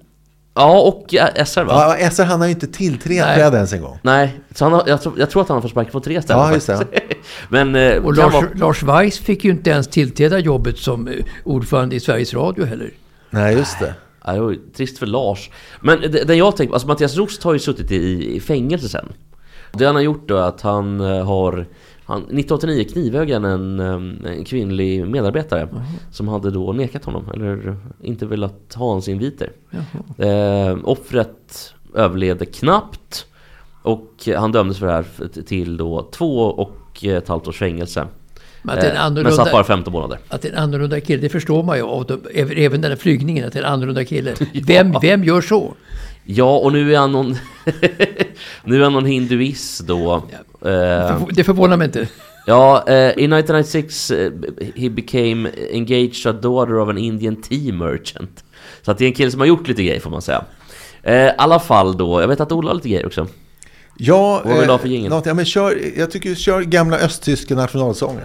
[SPEAKER 2] Ja, och eh, SR va?
[SPEAKER 3] ja, SR han har ju inte tillträtt ens en gång.
[SPEAKER 2] Nej, så han har, jag, tror, jag tror att han har fått sparken på tre ställen
[SPEAKER 3] Ja, just det.
[SPEAKER 2] faktiskt. (laughs) Men... Eh,
[SPEAKER 4] Och
[SPEAKER 2] kan
[SPEAKER 4] Lars,
[SPEAKER 2] vara-
[SPEAKER 4] Lars Weiss fick ju inte ens tillträda jobbet som eh, ordförande i Sveriges Radio heller.
[SPEAKER 3] Nej, just det.
[SPEAKER 2] Ja, det var ju trist för Lars. Men det- den jag tänker på, alltså Mattias Rost har ju suttit i, i fängelse sen. Det han har gjort då är att han eh, har han, 1989 knivhögg en, eh, en kvinnlig medarbetare som hade då nekat honom, eller inte velat ha hans inviter. Eh, offret överlevde knappt och han dömdes för det här f- till då två och ett halvt års fängelse.
[SPEAKER 4] Men att det är en
[SPEAKER 2] Eh, men
[SPEAKER 4] annorlunda-
[SPEAKER 2] satt bara 15 månader.
[SPEAKER 4] Att det är en annorlunda kille, det förstår man ju av de, även även den här flygningen, att det är en
[SPEAKER 3] (laughs)
[SPEAKER 4] annorlunda kille. Vem, vem gör så?
[SPEAKER 2] Ja, och nu är han någon... (laughs) nu är han någon hinduist då. Eh,
[SPEAKER 4] Förvå- Det förvånar mig inte.
[SPEAKER 2] ja, eh, in 1996 eh, he became engaged to a daughter of an Indian tea merchant. Så att det är en kille som har gjort lite grejer får man säga. Eh, I alla fall då, jag vet att Ola har lite grejer också.
[SPEAKER 3] Ja,
[SPEAKER 2] Vad vill du ha för
[SPEAKER 3] eh,
[SPEAKER 2] jingel?
[SPEAKER 3] något, ja, men kör, jag tycker kör gamla östtyska nationalsången.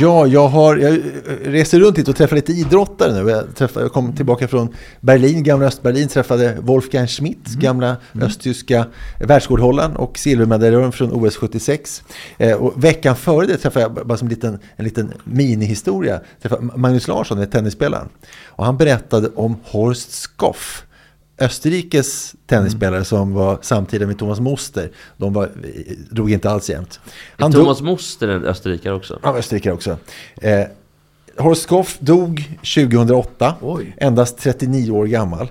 [SPEAKER 3] Ja, jag, har, jag reser runt hit och träffar lite idrottare nu. Jag, träffade, jag kom tillbaka från Berlin, gamla Östberlin, träffade Wolfgang Schmidt,
[SPEAKER 2] Mm.
[SPEAKER 3] gamla östtyska världsrekordhållaren och silvermedaljören från OS 76. Eh, och veckan före det träffade jag, bara som liten, en liten minihistoria, träffade Magnus Larsson, den tennisspelaren. Och han berättade om Horst Skoff. Österrikes tennisspelare
[SPEAKER 2] Mm.
[SPEAKER 3] som var samtida med Thomas Moster. De var, eh, drog inte alls jämnt.
[SPEAKER 2] Han
[SPEAKER 3] Han dog-
[SPEAKER 2] Thomas Moster är en österrikare också.
[SPEAKER 3] Ja, österrikare också. Eh, Horst Skoff dog 2008,
[SPEAKER 4] Oj.
[SPEAKER 3] endast 39 år gammal.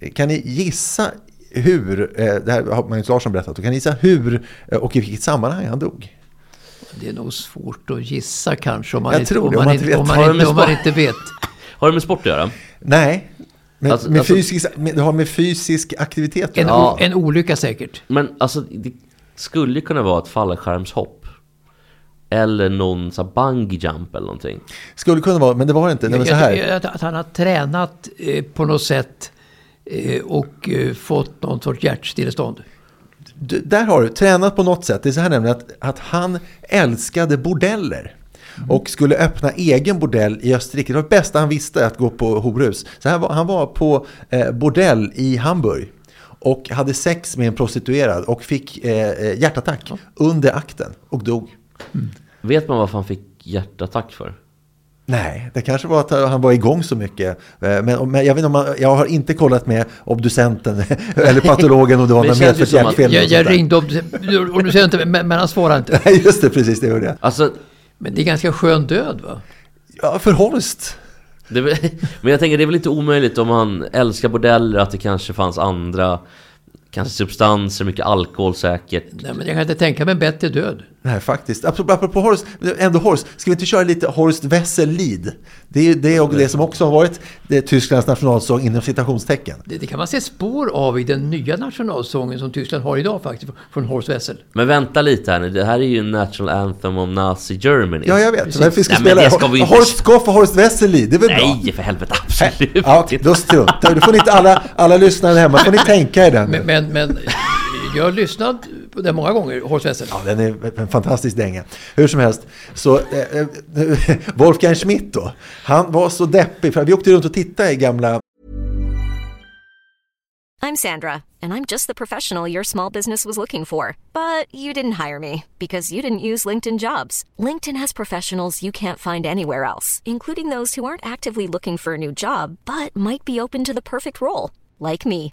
[SPEAKER 3] Eh, Kan ni gissa hur, eh, det här har Magnus Larsson berättat, kan ni gissa hur eh, och i vilket sammanhang han dog?
[SPEAKER 4] Det är nog svårt att gissa kanske om man,
[SPEAKER 3] Jag
[SPEAKER 4] inte,
[SPEAKER 3] tror
[SPEAKER 4] om
[SPEAKER 3] det,
[SPEAKER 4] man, inte, vet. Om man,
[SPEAKER 2] Har de
[SPEAKER 4] inte, om man
[SPEAKER 2] spa-
[SPEAKER 3] (laughs)
[SPEAKER 4] inte vet.
[SPEAKER 2] Har det med sport att göra?
[SPEAKER 3] Nej, men
[SPEAKER 2] Alltså-
[SPEAKER 3] med
[SPEAKER 2] alltså-
[SPEAKER 3] fysisk, med, det har med fysisk aktivitet att
[SPEAKER 4] En,
[SPEAKER 3] göra.
[SPEAKER 2] Ja.
[SPEAKER 4] o, en olycka säkert.
[SPEAKER 2] Men alltså, det skulle ju kunna vara ett fallskärmshopp. Eller någon sån här bungee jump eller någonting.
[SPEAKER 3] Skulle kunna vara, men det var det inte. Nej, men så
[SPEAKER 4] Jag,
[SPEAKER 3] här.
[SPEAKER 4] jag, att han har tränat eh, på något sätt eh, och eh, fått någon sorts hjärtstillestånd.
[SPEAKER 3] Du, där har du, tränat på något sätt. Det är så här nämligen att, att han älskade bordeller.
[SPEAKER 2] Mm.
[SPEAKER 3] Och skulle öppna egen bordell i Österrike. Det var det bästa han visste, att gå på horhus. Så här var, han var på eh, bordell i Hamburg. Och hade sex med en prostituerad och fick eh, eh, hjärtattack under akten och dog.
[SPEAKER 2] Vet man varför han fick hjärtattack för?
[SPEAKER 3] Nej, det kanske var att han var igång så mycket. Eh, Men, men jag, vet inte om man, jag har inte kollat med obducenten (laughs) eller patologen om det var
[SPEAKER 2] Men det
[SPEAKER 3] något
[SPEAKER 2] känns ju
[SPEAKER 3] medfött
[SPEAKER 2] som att-
[SPEAKER 3] hjärtfel. eller
[SPEAKER 4] Jag,
[SPEAKER 3] något sånt
[SPEAKER 4] jag
[SPEAKER 3] där.
[SPEAKER 4] ringde upp, och nu säger jag inte, men, men han svarar inte.
[SPEAKER 3] Nej, (laughs) just det, precis det gjorde jag.
[SPEAKER 2] Alltså,
[SPEAKER 4] Men det är ganska skön död va?
[SPEAKER 3] Ja, för Horst.
[SPEAKER 2] Det är väl, (laughs) men jag tänker det är väl inte omöjligt om han älskar bordeller att det kanske fanns andra Kanske substanser, mycket alkohol säkert.
[SPEAKER 4] Nej, men jag kan inte tänka mig en bättre död.
[SPEAKER 3] Nej, faktiskt. Apropå, apropå Horst, ändå Horst, ska vi inte köra lite Horst Wessel-Lied? Det är ju det och det som också har varit det är Tysklands nationalsång inom citationstecken.
[SPEAKER 4] Det, det kan man se spår av i den nya nationalsången som Tyskland har idag faktiskt, från Horst Wessel.
[SPEAKER 2] Men vänta lite här nu, det här är ju en national anthem om Nazi Germany.
[SPEAKER 3] Ja, jag vet. Men vi ska
[SPEAKER 2] Nej, men
[SPEAKER 3] spela
[SPEAKER 2] det ska vi inte-
[SPEAKER 3] Horst Skoff och Horst Wessel-Lied, det är väl bra?
[SPEAKER 2] Nej, för helvete, absolut
[SPEAKER 3] Ja,
[SPEAKER 2] inte.
[SPEAKER 3] då struntar vi. Då får ni inte alla, alla lyssnare hemma, får ni tänka er den.
[SPEAKER 4] Men, men, men (laughs) jag har lyssnat på det många gånger, Horst Wessel.
[SPEAKER 3] Ja, den är en fantastisk dänga. Hur som helst, så eh, eh, (laughs) Wolfgang Schmidt då, han var så deppig, för vi åkte runt och tittade i gamla
[SPEAKER 5] I'm Sandra, and I'm just the professional your small business was looking for. But you didn't hire me because you didn't use LinkedIn jobs. LinkedIn has professionals you can't find anywhere else, including those who aren't actively looking for a new job but might be open to the perfect role, like me.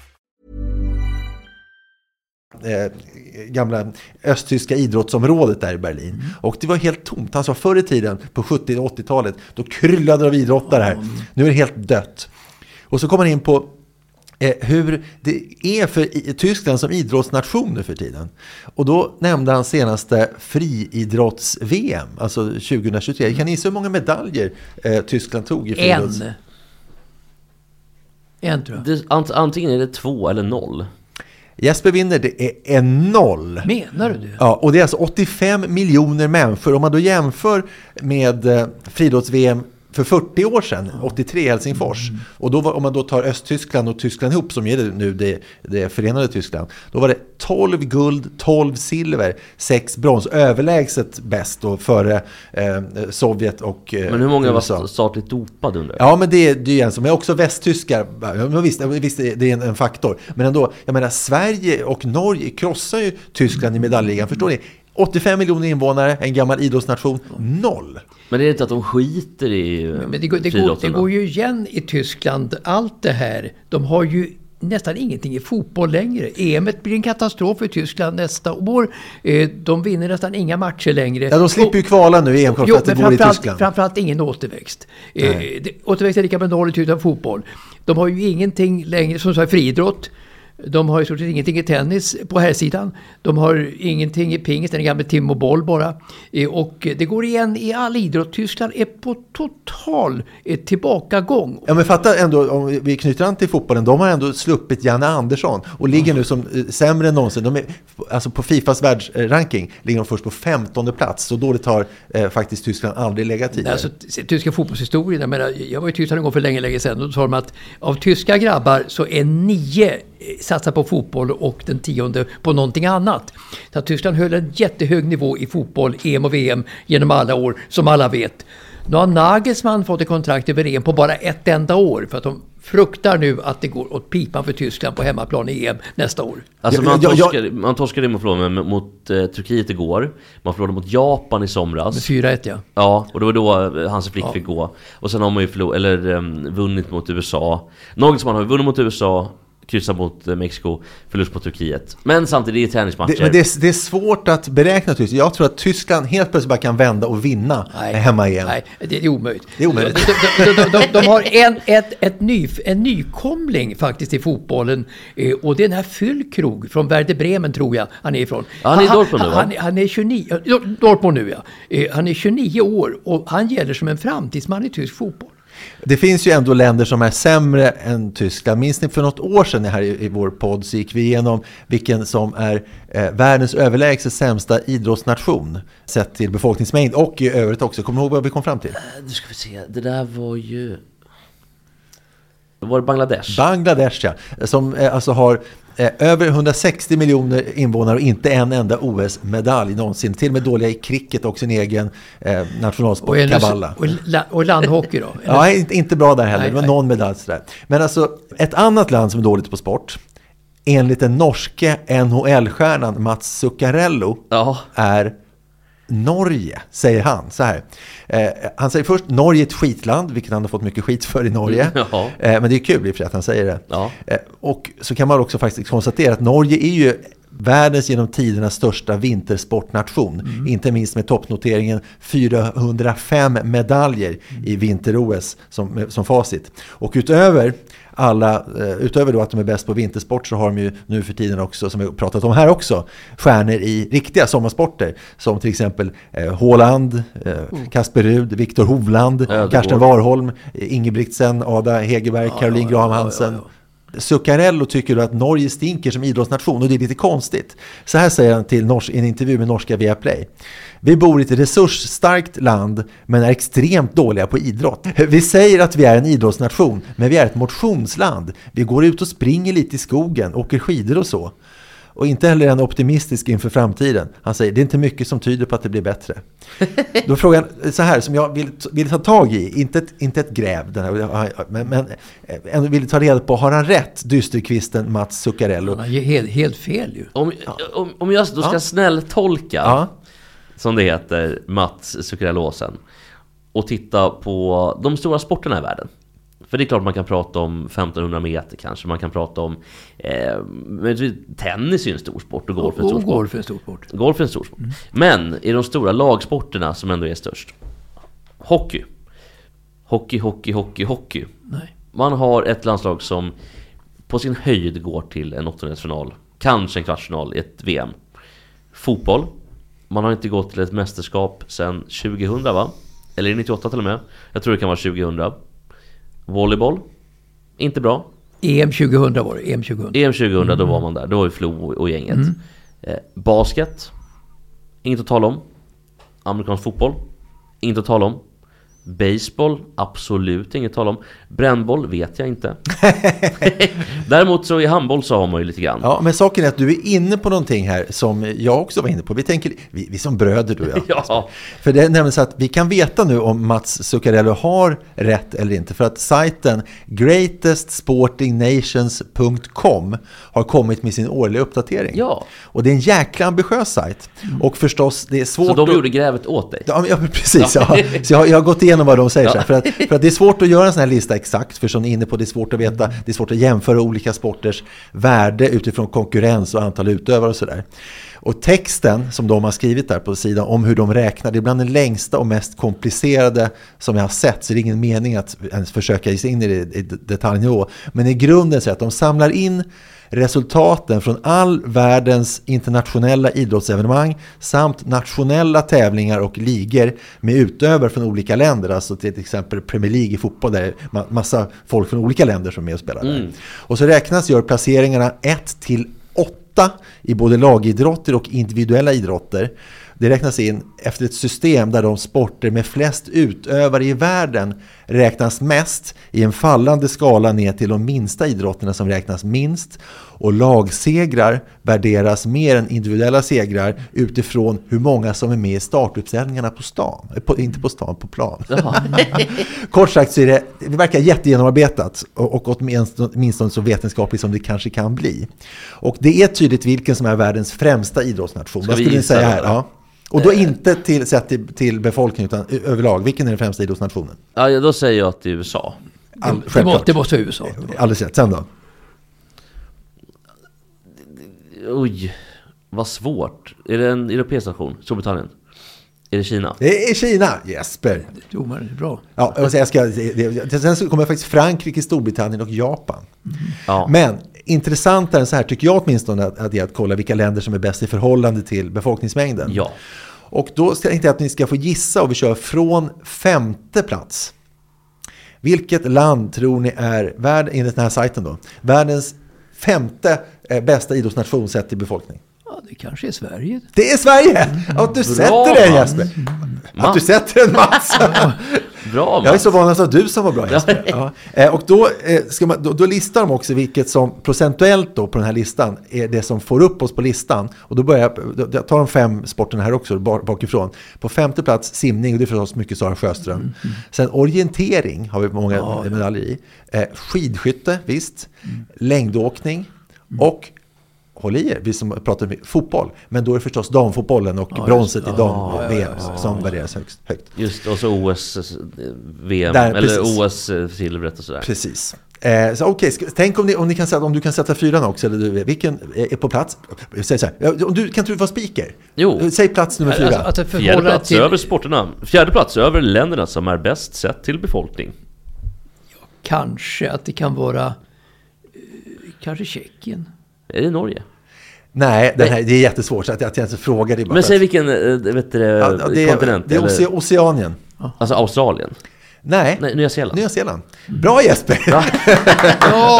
[SPEAKER 3] eh, gamla östtyska idrottsområdet där i Berlin. Och det var helt tomt. Han sa förr i tiden, på 70 och 80-talet, då kryllade det av idrottare här. Nu är det helt dött. Och så kom han in på eh, hur det är för i- Tyskland som idrottsnation nu för tiden. Och då nämnde han senaste friidrotts-VM, alltså 2023. Kan ni gissa hur många medaljer eh, Tyskland tog i friidrotts?
[SPEAKER 4] En. En tror
[SPEAKER 2] (laughs)
[SPEAKER 4] jag.
[SPEAKER 2] Det, ant, antingen är det två eller noll.
[SPEAKER 3] Jesper vinner, det är en noll.
[SPEAKER 4] Menar du det?
[SPEAKER 3] Ja, och det är alltså 85 miljoner människor. Om man då jämför med eh, friidrotts-VM för 40 år sedan, 83 i Helsingfors.
[SPEAKER 2] Mm.
[SPEAKER 3] Och då var, om man då tar Östtyskland och Tyskland ihop, som är det nu det, det förenade Tyskland. Då var det 12 guld, 12 silver, 6 brons. Överlägset bäst då före eh, Sovjet och eh,
[SPEAKER 2] Men hur många
[SPEAKER 3] USA.
[SPEAKER 2] var statligt dopade undrar jag?
[SPEAKER 3] Ja, men det, det är ju en som är också västttyskar. Ja, men visst, visst, det är en, en faktor. Men ändå, jag menar Sverige och Norge krossar ju Tyskland i medaljligan. Förstår ni? 85 miljoner invånare, en gammal idrottsnation, noll.
[SPEAKER 2] Men är det inte att de skiter i eh,
[SPEAKER 4] Men det, går, det, går, det
[SPEAKER 2] friidrotterna?
[SPEAKER 4] går ju igen i Tyskland, allt det här. De har ju nästan ingenting i fotboll längre. EM et blir en katastrof för Tyskland nästa år. Eh, De vinner nästan inga matcher längre.
[SPEAKER 3] Ja, de slipper ju kvala nu i EM för
[SPEAKER 4] Jo,
[SPEAKER 3] att det
[SPEAKER 4] men
[SPEAKER 3] går i
[SPEAKER 4] framförallt,
[SPEAKER 3] Tyskland.
[SPEAKER 4] framförallt ingen återväxt. Eh, det, återväxt är lika med noll utan fotboll. De har ju ingenting längre, som sagt, friidrott. De har i stort sett ingenting i tennis på här sidan. De har ingenting i pingis, den gamla Tim och boll bara. Eh, Och det går igen i all idrott. Tyskland är på total eh, tillbakagång.
[SPEAKER 3] Ja men fatta ändå, om vi- vi knyter an till fotbollen, de har ändå sluppit Janne Andersson och ligger nu som eh, sämre än någonsin. De är, alltså på Fifas världsranking ligger de först på 15 plats. Så dåligt har eh, faktiskt Tyskland aldrig legat tidigare.
[SPEAKER 4] Alltså, t- tyska fotbollshistorien, jag, menar, jag var i Tyskland en gång för länge, länge sedan. Då sa de att av tyska grabbar så är nio eh, satsar på fotboll och den tionde på någonting annat. Så att Tyskland höll en jättehög nivå i fotboll, EM och VM, genom alla år, som alla vet. Nu har Nagelsmann fått ett kontrakt över EM på bara ett enda år för att de fruktar nu att det går åt pipan för Tyskland på hemmaplan i EM nästa år.
[SPEAKER 2] Alltså
[SPEAKER 3] Ja,
[SPEAKER 2] man,
[SPEAKER 3] ja, ja.
[SPEAKER 2] torskade, man torskade mot, förlåt, men mot eh, Turkiet igår, man förlorade mot Japan i somras.
[SPEAKER 4] 4-1 ja.
[SPEAKER 2] Ja, och det var då eh, Hansi Flick fick gå. Och sen har man ju förlor, eller, um, vunnit mot USA. Nagelsmann har ju vunnit mot USA, kryssat mot eh, Mexiko, förlust mot Turkiet. Men samtidigt, det är träningsmatcher.
[SPEAKER 3] Det, men det, är, det är svårt att beräkna Tyskland. Jag tror att Tyskland helt plötsligt bara kan vända och vinna hemma igen.
[SPEAKER 4] Nej, det är omöjligt.
[SPEAKER 3] Det är omöjligt.
[SPEAKER 4] De, de, de, de, de, de har en, ett, ett ny, en nykomling faktiskt i fotbollen. eh, Och det är den här Füllkrog från Werder Bremen, tror jag han är ifrån.
[SPEAKER 2] Ja, han är i Dortmund nu, va?
[SPEAKER 4] han, han är 29, ja, Dor- Dortmund nu ja. Eh, Han är 29 år och han gäller som en framtidsman i tysk fotboll.
[SPEAKER 3] Det finns ju ändå länder som är sämre än Tyskland. Minns ni för något år sedan här i, i vår podd så gick vi igenom vilken som är eh, världens överlägset sämsta idrottsnation sett till befolkningsmängd och i övrigt också. Kommer ni ihåg vad vi kom fram till?
[SPEAKER 2] Nu ska vi se, det där var ju... Var det Bangladesh?
[SPEAKER 3] Bangladesh ja, som eh, alltså har eh, över 160 miljoner invånare och inte en enda OS-medalj någonsin. Till och med dåliga i cricket och sin egen eh,
[SPEAKER 4] Och,
[SPEAKER 3] nationalsport,
[SPEAKER 4] en-
[SPEAKER 3] kavala.
[SPEAKER 4] och, la- och landhockey då?
[SPEAKER 3] Ja, inte, inte bra där heller.
[SPEAKER 4] Nej,
[SPEAKER 3] Det var
[SPEAKER 4] nej.
[SPEAKER 3] någon medalj sådär. Men alltså, ett annat land som är dåligt på sport, enligt den norske NHL-stjärnan Mats Zuccarello,
[SPEAKER 2] Ja.
[SPEAKER 3] är Norge, säger han. Så här. Eh, han säger först Norge är ett skitland, vilket han har fått mycket skit för i Norge.
[SPEAKER 2] Mm, ja.
[SPEAKER 3] Eh, men det är kul i och för sig att han säger det.
[SPEAKER 2] Ja.
[SPEAKER 3] Eh, och så kan man också faktiskt konstatera att Norge är ju världens genom tidernas största vintersportnation. Inte minst med toppnoteringen 405 medaljer i vinter-OS som, som facit. Och utöver alla, eh, utöver då att de är bäst på vintersport så har de ju nu för tiden också, som vi har pratat om här också, stjärnor i riktiga sommarsporter. Som till exempel eh, Haaland, eh, Kasper Rud, Viktor Hovland,
[SPEAKER 2] Ödegård.
[SPEAKER 3] Karsten Warholm, eh, Ingebrigtsen, Ada Hegerberg, Caroline Graham Hansen. Zuccarello tycker då att Norge stinker som idrottsnation och det är lite konstigt. Så här säger han till nors- i en intervju med norska Viaplay. Vi bor i ett resursstarkt land men är extremt dåliga på idrott. Vi säger att vi är en idrottsnation men vi är ett motionsland. Vi går ut och springer lite i skogen, åker skidor och så. Och inte heller är han optimistisk inför framtiden. Han säger det är inte mycket som tyder på att det blir bättre. Då frågar han eh, så här som jag vill, vill ta tag i, inte ett, inte ett gräv, den här, men, men eh, ändå vill ta reda på, har han rätt, dysterkvisten Mats Zuccarello?
[SPEAKER 4] Han har ju helt, helt fel ju.
[SPEAKER 2] Om, om, om jag då ska
[SPEAKER 3] Ja.
[SPEAKER 2] snälltolka,
[SPEAKER 3] Ja.
[SPEAKER 2] som det heter, Mats Zuccarellåsen och titta på de stora sporterna i världen. För det är klart man kan prata om 1500 meter kanske, man kan prata om... Eh, men tennis är ju en stor sport och golf är en stor
[SPEAKER 4] Och
[SPEAKER 2] sport.
[SPEAKER 4] golf är en stor sport.
[SPEAKER 2] Golf är en stor sport. Men i de stora lagsporterna som ändå är störst. Hockey. Hockey, hockey, hockey, hockey.
[SPEAKER 4] Nej.
[SPEAKER 2] Man har ett landslag som på sin höjd går till en åttondelsfinal, kanske en kvartsfinal i ett VM. Fotboll. Man har inte gått till ett mästerskap sedan 2000 va? Eller 98 till och med. Jag tror det kan vara 2000. Volleyboll. Inte bra.
[SPEAKER 4] EM 2000 E var det. EM 2000.
[SPEAKER 2] EM 2000, då
[SPEAKER 3] Mm.
[SPEAKER 2] var man där. Då var ju Flo och gänget. Eh, basket. Inget att tala om. Amerikansk fotboll. Inget att tala om. Baseball, absolut inget att tala om. Brännboll vet jag
[SPEAKER 3] (laughs)
[SPEAKER 2] inte. Däremot så i handboll så har man ju lite grann.
[SPEAKER 3] Ja, men saken är att du är inne på någonting här som jag också var inne på. Vi tänker, vi, vi som bröder du och jag.
[SPEAKER 2] (laughs) Ja.
[SPEAKER 3] För det är nämligen så att vi kan veta nu om Mats Zuccarello har rätt eller inte. För att sajten greatestsportingnations.com har kommit med sin årliga uppdatering.
[SPEAKER 2] Ja. Mm.
[SPEAKER 3] Och det är en jäkla ambitiös sajt. Och förstås, det är svårt
[SPEAKER 2] Så de
[SPEAKER 3] att-
[SPEAKER 2] gjorde grävet åt dig.
[SPEAKER 3] Ja, men- ja men precis. Ja. Så jag, har- jag har gått igenom vad de säger. Så här, för, att, för att det är svårt att göra en sån här lista exakt, för som ni är inne på, det är svårt att veta, det är svårt att jämföra olika sporters värde utifrån konkurrens och antal utövare och sådär. Och texten som de har skrivit där på sidan om hur de räknar, det är bland den längsta och mest komplicerade som jag har sett, så det är ingen mening att ens försöka ge sig in i det i detaljnivå. Men i grunden så är det att de samlar in resultaten från all världens internationella idrottsevenemang samt nationella tävlingar och ligor med utövare från olika länder. Alltså till exempel Premier League i fotboll där det är ma- massa folk från olika länder som är med och spelar. där. Och så räknas gör placeringarna 1 till 8 i både lagidrotter och individuella idrotter. Det räknas in efter ett system där de sporter med flest utövare i världen räknas mest i en fallande skala ner till de minsta idrotterna som räknas minst. Och lagsegrar värderas mer än individuella segrar utifrån hur många som är med i startuppställningarna på stan. Eh, På, inte på stan, på plan. (laughs) Kort sagt så är det, det verkar jättegenomarbetat och, och åtminstone åtminstone så vetenskapligt som det kanske kan bli. Och det är tydligt vilken som är världens främsta idrottsnation. Vad
[SPEAKER 2] vi
[SPEAKER 3] skulle ni
[SPEAKER 2] gissa
[SPEAKER 3] säga
[SPEAKER 2] då,
[SPEAKER 3] här?
[SPEAKER 2] eller?
[SPEAKER 3] Ja. Och då inte till, sett till, till befolkningen utan ö- överlag. Vilken är den främsta idrottsnationen?
[SPEAKER 2] Ja, ja, då säger jag att det är USA.
[SPEAKER 3] All,
[SPEAKER 4] Det måste,
[SPEAKER 3] självklart.
[SPEAKER 4] det måste vara USA.
[SPEAKER 3] Alldeles rätt. Sen då?
[SPEAKER 2] Oj, vad svårt. Är det en europeisk nation? Storbritannien? Är det Kina?
[SPEAKER 3] Det är Kina! Jesper!
[SPEAKER 4] Domaren är bra.
[SPEAKER 3] Ja, jag, jag ska, det- det- sen så kommer faktiskt Frankrike, Storbritannien och Japan.
[SPEAKER 2] Ja.
[SPEAKER 3] Men intressantare än så här tycker jag åtminstone att, att det är att kolla vilka länder som är bäst i förhållande till befolkningsmängden.
[SPEAKER 2] Ja.
[SPEAKER 3] Och då ska- tänkte jag att ni ska få gissa och vi kör från femte plats. Vilket land tror ni är, värld, enligt den här sajten då, världens femte eh, bästa idrottsnation sett till befolkning?
[SPEAKER 4] Ja, det kanske är Sverige.
[SPEAKER 3] Det är Sverige! Att du sätter den
[SPEAKER 2] Mats.
[SPEAKER 3] Jesper! Att du sätter den Mats!
[SPEAKER 2] Bra
[SPEAKER 3] Jag är
[SPEAKER 2] Mats!
[SPEAKER 3] så van att det var du som var bra Jesper. Ja. Eh, Och då, eh, ska man, då, då listar de också vilket som procentuellt då på den här listan är det som får upp oss på listan. Och då börjar jag, då- jag tar de fem sporterna här också bak- bakifrån. På femte plats simning, och det är förstås mycket Sara Sjöström. Sen orientering har vi många medaljer i. Eh, Skidskytte, visst. Längdåkning. Och Håll i er, vi som pratar om fotboll. Men då är det förstås damfotbollen och bronset i dam-VM som värderas högst. högt.
[SPEAKER 2] Just, och så OS, eh, VM,
[SPEAKER 3] Där,
[SPEAKER 2] eller
[SPEAKER 3] precis.
[SPEAKER 2] OS-silvret och sådär.
[SPEAKER 3] Precis. Eh, så, okej, ska- tänk om, ni, om, ni kan sätta, om du kan sätta fyran också, eller du, vilken är på plats? Säg så här, ja, om du, kan inte du vara speaker?
[SPEAKER 2] Jo.
[SPEAKER 3] Eh, Säg plats nummer fyra.
[SPEAKER 4] Alltså, alltså
[SPEAKER 2] Fjärde
[SPEAKER 4] förhållandet
[SPEAKER 2] plats
[SPEAKER 4] till...
[SPEAKER 2] över sporterna. Fjärde plats över länderna som är bäst sett till befolkning.
[SPEAKER 4] Kanske att det kan vara... eh, Kanske Tjeckien.
[SPEAKER 2] Är det Norge?
[SPEAKER 3] Nej, den här, det är jättesvårt, så att, jag- att jag inte frågar dig bara.
[SPEAKER 2] Men
[SPEAKER 3] för
[SPEAKER 2] säg
[SPEAKER 3] att-
[SPEAKER 2] vilken eh, vet du, det,
[SPEAKER 3] Ja, det är,
[SPEAKER 2] kontinent?
[SPEAKER 3] det är
[SPEAKER 2] eller,
[SPEAKER 3] Oce- Oceanien.
[SPEAKER 2] Alltså Australien?
[SPEAKER 3] Nej,
[SPEAKER 2] Nej, Nya Zeeland.
[SPEAKER 3] Nya Zeeland. Bra Jesper!
[SPEAKER 2] Ja,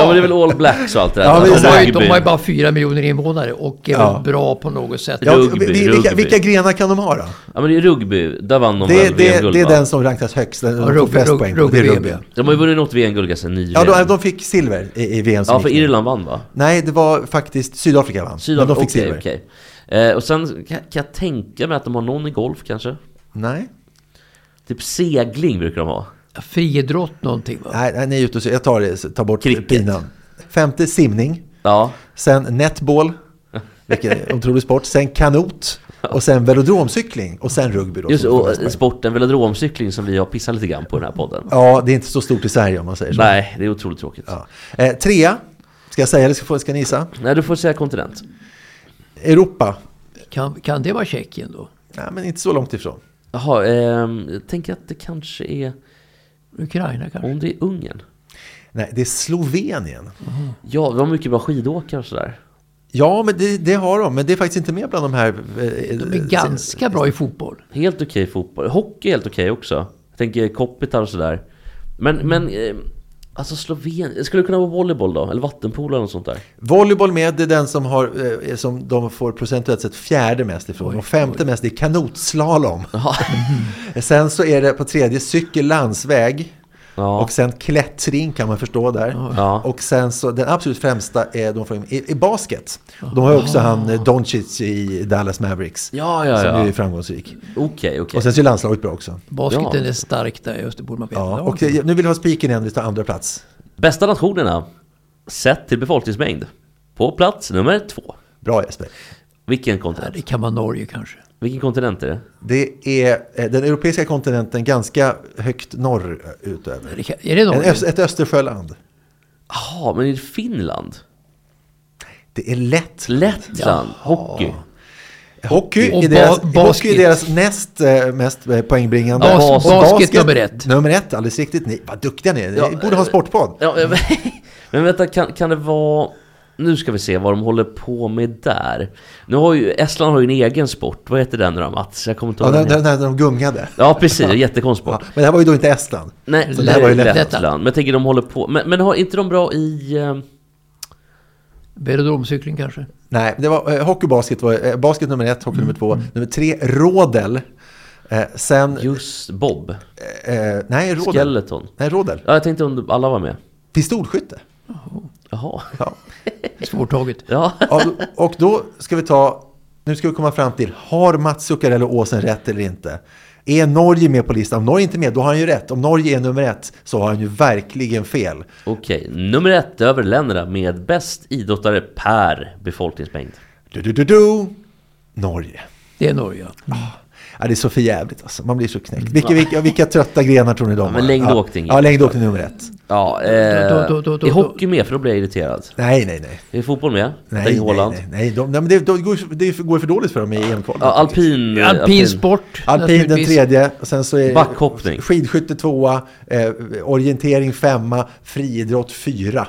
[SPEAKER 2] men det är väl All Blacks och allt det där.
[SPEAKER 3] Ja, men
[SPEAKER 4] De
[SPEAKER 3] Exakt.
[SPEAKER 4] har, ju,
[SPEAKER 2] Rugby.
[SPEAKER 4] de har ju bara fyra miljoner invånare och är väl bra på något sätt.
[SPEAKER 3] (laughs) Ja,
[SPEAKER 2] Rugby,
[SPEAKER 3] vi- vi- vilka,
[SPEAKER 2] rugby.
[SPEAKER 3] vilka grenar kan de ha då?
[SPEAKER 2] Ja, men det är rugby. Där vann de
[SPEAKER 3] Det,
[SPEAKER 2] väl
[SPEAKER 3] det,
[SPEAKER 2] VM-guld,
[SPEAKER 3] det är
[SPEAKER 2] va?
[SPEAKER 3] den som rankas högst, den som får
[SPEAKER 4] rugby-
[SPEAKER 3] flest
[SPEAKER 4] rug-
[SPEAKER 3] poäng.
[SPEAKER 4] rugby-
[SPEAKER 3] det är
[SPEAKER 4] rugby.
[SPEAKER 3] rugby.
[SPEAKER 2] De har ju vunnit något VM-guld ganska nyligen.
[SPEAKER 3] Ja, de, de fick silver i, i VM som
[SPEAKER 2] ja, för
[SPEAKER 3] gick nu.
[SPEAKER 2] Irland vann va?
[SPEAKER 3] Nej, det var faktiskt Sydafrika vann.
[SPEAKER 2] Sydafrika,
[SPEAKER 3] Men de fick
[SPEAKER 2] okej, okej.
[SPEAKER 3] silver.
[SPEAKER 2] Eh, och sen kan, kan jag tänka mig att de har någon i golf kanske?
[SPEAKER 3] Nej.
[SPEAKER 2] Typ segling brukar de ha.
[SPEAKER 4] Friidrott någonting va?
[SPEAKER 3] Nej, nej, ni är ute och Jag tar, det, så- tar bort
[SPEAKER 2] Alltså. Cricket.
[SPEAKER 3] pinan. Femte, simning.
[SPEAKER 2] Ja,
[SPEAKER 3] Sen
[SPEAKER 2] (laughs)
[SPEAKER 3] netball, vilken är en otrolig sport. Sen kanot. Och sen velodromcykling. Och sen rugby då.
[SPEAKER 2] just
[SPEAKER 3] som får mest
[SPEAKER 2] och eh,
[SPEAKER 3] poäng.
[SPEAKER 2] sporten velodromcykling som vi har pissat lite grann på i den här podden.
[SPEAKER 3] Ja, det är inte så stort i Sverige om man säger så.
[SPEAKER 2] Nej, det är otroligt tråkigt.
[SPEAKER 3] Ja. Eh, trea. Ska jag säga eller ska, få- ska ni gissa?
[SPEAKER 2] Nej, du får säga kontinent.
[SPEAKER 3] Europa.
[SPEAKER 4] Kan, kan det vara Tjeckien då?
[SPEAKER 3] Nej, men inte så långt ifrån.
[SPEAKER 2] Jaha, ehm, jag tänker att det kanske är...
[SPEAKER 4] Ukraina kanske?
[SPEAKER 2] Om det är Ungern?
[SPEAKER 3] Nej, det är Slovenien.
[SPEAKER 2] Ja, de har mycket bra skidåkare och sådär.
[SPEAKER 3] Ja, men det, det har de. Men det är faktiskt inte med bland de här. eh,
[SPEAKER 4] De är ganska bra i fotboll.
[SPEAKER 2] Helt okej fotboll. Hockey är helt okej också. Jag tänker Kopitar och sådär. Men, men... Eh, alltså Slovenien... Skulle det kunna vara volleyboll då? Eller vattenpolo eller något sånt där?
[SPEAKER 3] Volleyboll med, det är den som, har, eh, som de får procentuellt sett fjärde mest ifrån. och femte mest, det är kanotslalom. (laughs) sen så är det på tredje cykel, landsväg.
[SPEAKER 2] Ja.
[SPEAKER 3] Och sen klättring kan man förstå där.
[SPEAKER 2] Ja.
[SPEAKER 3] Och sen så den absolut främsta är de får in, i, i basket. De har ju också han eh, Doncic i Dallas Mavericks.
[SPEAKER 2] Ja, ja,
[SPEAKER 3] Som
[SPEAKER 2] ja.
[SPEAKER 3] ju är framgångsrik.
[SPEAKER 2] Okej, okej.
[SPEAKER 3] Och sen så är landslaget bra också.
[SPEAKER 4] Basketen
[SPEAKER 2] Ja.
[SPEAKER 4] är stark där, just det borde man veta.
[SPEAKER 3] Ja, och det, nu vill jag ha spiken igen, vi tar andra plats.
[SPEAKER 2] Bästa nationerna sett till befolkningsmängd. På plats nummer två.
[SPEAKER 3] Bra Jesper.
[SPEAKER 2] Vilken
[SPEAKER 4] Ja, det
[SPEAKER 2] kontinent?
[SPEAKER 4] kan vara Norge kanske.
[SPEAKER 2] Vilken kontinent är det?
[SPEAKER 3] Det är eh, den europeiska kontinenten ganska högt norr eh, utöver.
[SPEAKER 4] Det kan, är det
[SPEAKER 3] En
[SPEAKER 4] Norge?
[SPEAKER 3] öst, ett Östersjöland.
[SPEAKER 2] Jaha, men är det Finland?
[SPEAKER 3] Det är lätt.
[SPEAKER 2] Lettland? Hockey?
[SPEAKER 3] Hockey,
[SPEAKER 4] Och
[SPEAKER 3] är deras,
[SPEAKER 4] ba-
[SPEAKER 3] hockey är
[SPEAKER 4] basket.
[SPEAKER 3] deras näst eh, mest eh, poängbringande.
[SPEAKER 4] Bas-
[SPEAKER 3] Och
[SPEAKER 4] basket nummer ett.
[SPEAKER 3] Nummer ett, alldeles riktigt. Ni, vad duktiga ni är. Ni
[SPEAKER 2] Ja,
[SPEAKER 3] borde ha en
[SPEAKER 2] eh,
[SPEAKER 3] sportpodd.
[SPEAKER 2] Ja, jag- (laughs) men vänta, kan, kan det vara... Nu ska vi se vad de håller på med där. Nu har ju, Estland har ju en egen sport. Vad heter den nu då Mats? Jag kommer inte
[SPEAKER 3] Ja,
[SPEAKER 2] ihåg
[SPEAKER 3] när,
[SPEAKER 2] den heter.
[SPEAKER 3] när, när de gungade.
[SPEAKER 2] Ja precis, en jättekonstsport.
[SPEAKER 3] Ja, men det här var ju då inte Estland.
[SPEAKER 2] Nej,
[SPEAKER 3] Så det här var ju
[SPEAKER 2] Lettland.
[SPEAKER 3] Lettland.
[SPEAKER 2] Men jag tänker de håller på... Men, men har inte de bra i... eh,
[SPEAKER 4] Berödomcykling kanske?
[SPEAKER 3] Nej, det var eh, hockey och basket. Var, eh, basket nummer ett, hockey nummer
[SPEAKER 4] Mm.
[SPEAKER 3] två. Nummer tre, rodel. Eh, sen...
[SPEAKER 2] Just Bob?
[SPEAKER 3] Eh, nej, rodel.
[SPEAKER 2] Skeleton?
[SPEAKER 3] Nej, rodel.
[SPEAKER 2] Ja, jag tänkte om alla var med.
[SPEAKER 3] Pistolskytte.
[SPEAKER 2] Jaha. (laughs)
[SPEAKER 3] Ja.
[SPEAKER 4] Svårtaget.
[SPEAKER 2] Ja.
[SPEAKER 3] Ja, Och då ska vi ta, nu ska vi komma fram till, har Mats Zuccarello Åsen rätt eller inte? Är Norge med på listan? Om Norge inte är med, då har han ju rätt. Om Norge är nummer ett så har han ju verkligen fel.
[SPEAKER 2] Okej, nummer ett över länderna med bäst idrottare per befolkningsmängd.
[SPEAKER 3] Du, du, du, du. Norge.
[SPEAKER 4] Det är Norge. ja.
[SPEAKER 3] Ja, det är så för jävligt alltså. Man blir så knäckt. Vilka, vilka, vilka trötta grenar tror ni de har?
[SPEAKER 2] men längdåkning.
[SPEAKER 3] Ja, ja längdåkning nummer ett.
[SPEAKER 2] Ja, eh,
[SPEAKER 4] Då, då, då, då,
[SPEAKER 2] är
[SPEAKER 4] då.
[SPEAKER 2] hockey med? För då blir jag irriterad.
[SPEAKER 3] Nej, nej, nej.
[SPEAKER 2] Är fotboll med?
[SPEAKER 3] Nej,
[SPEAKER 2] Tänk
[SPEAKER 3] nej,
[SPEAKER 2] Holland.
[SPEAKER 3] nej, nej. De, nej men det, de går, ju- det går ju för dåligt för dem i EM-kvalet.
[SPEAKER 2] Ja, alpin...
[SPEAKER 4] Alpin sport.
[SPEAKER 3] Alpin den
[SPEAKER 4] naturligtvis.
[SPEAKER 3] tredje, och sen så är
[SPEAKER 2] Backhoppning.
[SPEAKER 3] skidskytte tvåa, eh, orientering femma, friidrott fyra.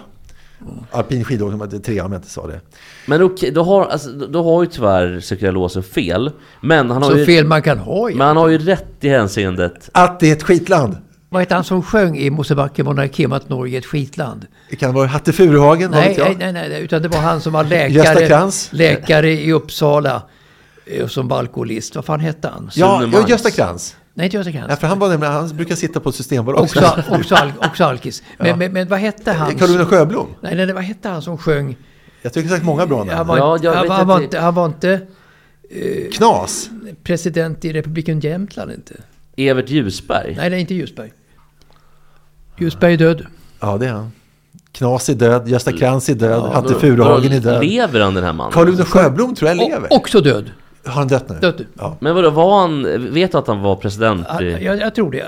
[SPEAKER 3] Alpin skidåkning var det trea om jag inte sa det.
[SPEAKER 2] Men okej, då har, alltså, då- då har ju tyvärr Zuccarello fel. Men han har,
[SPEAKER 4] Så
[SPEAKER 2] ju,
[SPEAKER 4] fel man kan ha
[SPEAKER 2] men
[SPEAKER 4] ja.
[SPEAKER 2] han har ju rätt i hänseendet.
[SPEAKER 3] Att det är ett skitland!
[SPEAKER 4] Vad hette han som sjöng i Mosebacke monarkem att Norge är ett skitland?
[SPEAKER 3] Det kan vara Hatte Furuhagen, vad
[SPEAKER 4] Nej,
[SPEAKER 3] vet jag?
[SPEAKER 4] nej, nej, nej, utan det var han som var
[SPEAKER 3] Gösta
[SPEAKER 4] läkare,
[SPEAKER 3] Krantz?
[SPEAKER 4] läkare i Uppsala. eh, Som var alkoholist. Vad fan hette han?
[SPEAKER 3] ja,
[SPEAKER 2] Sunnemans.
[SPEAKER 3] ja, Gösta Krantz.
[SPEAKER 4] Nej, inte Gösta
[SPEAKER 3] Ja,
[SPEAKER 4] Krantz.
[SPEAKER 3] för han, var nämligen, han brukar sitta på Systembolaget.
[SPEAKER 4] Också, också, al- också alkis. Men, men, men vad hette han?
[SPEAKER 3] Karolina Sjöblom.
[SPEAKER 4] Nej, nej, vad hette han som sjöng?
[SPEAKER 3] Jag tycker sagt många bra
[SPEAKER 4] Han
[SPEAKER 3] namn.
[SPEAKER 4] var,
[SPEAKER 2] Ja, jag
[SPEAKER 4] han,
[SPEAKER 2] vet
[SPEAKER 4] han var,
[SPEAKER 2] inte.
[SPEAKER 4] inte, han var inte
[SPEAKER 3] Knas!
[SPEAKER 4] president i republiken Jämtland inte.
[SPEAKER 2] Evert Ljusberg.
[SPEAKER 4] Nej, nej, inte Ljusberg. Ljusberg är död.
[SPEAKER 3] Ja, det är han. Knas är död, Gösta Krantz är död, Hatte
[SPEAKER 2] Då-
[SPEAKER 3] Furuhagen
[SPEAKER 2] då
[SPEAKER 3] är död.
[SPEAKER 2] Lever han den här mannen?
[SPEAKER 3] Karolina Sjöblom tror jag lever.
[SPEAKER 4] O- också död.
[SPEAKER 3] Har han dött nu?
[SPEAKER 4] Dött nu.
[SPEAKER 3] Ja.
[SPEAKER 2] Men vadå, var han... Vet du att han var president
[SPEAKER 4] Ah, Ja,
[SPEAKER 2] i...
[SPEAKER 4] Jag, jag tror det.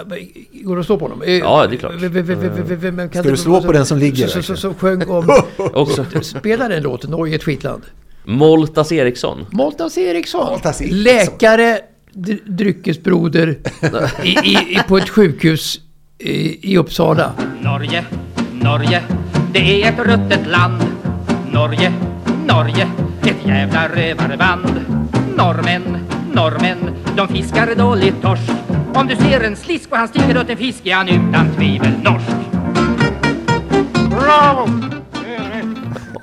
[SPEAKER 4] Går det att slå på honom? Eh,
[SPEAKER 2] Ja, det är klart.
[SPEAKER 4] v- v- v- v- v- vem kan
[SPEAKER 3] Ska du slå på den som ligger,
[SPEAKER 4] Så, så,
[SPEAKER 3] verkligen?
[SPEAKER 4] så, så sjöng
[SPEAKER 3] (laughs)
[SPEAKER 4] om...
[SPEAKER 2] Också.
[SPEAKER 4] Spela den låten, Norge är ett skitland.
[SPEAKER 2] Moltas Eriksson.
[SPEAKER 4] Moltas Eriksson.
[SPEAKER 3] Moltas Eriksson.
[SPEAKER 4] Läkare, dr- dryckesbroder (laughs) i, i, i, på ett sjukhus i, i Uppsala.
[SPEAKER 1] Norge, Norge, det är ett ruttet land. Norge, Norge, ett jävla rövarband. Norrmän, norrmän, de fiskar dåligt torsk. Om du ser en slisk och han sticker åt en fisk är han utan tvivel norsk. Bravo!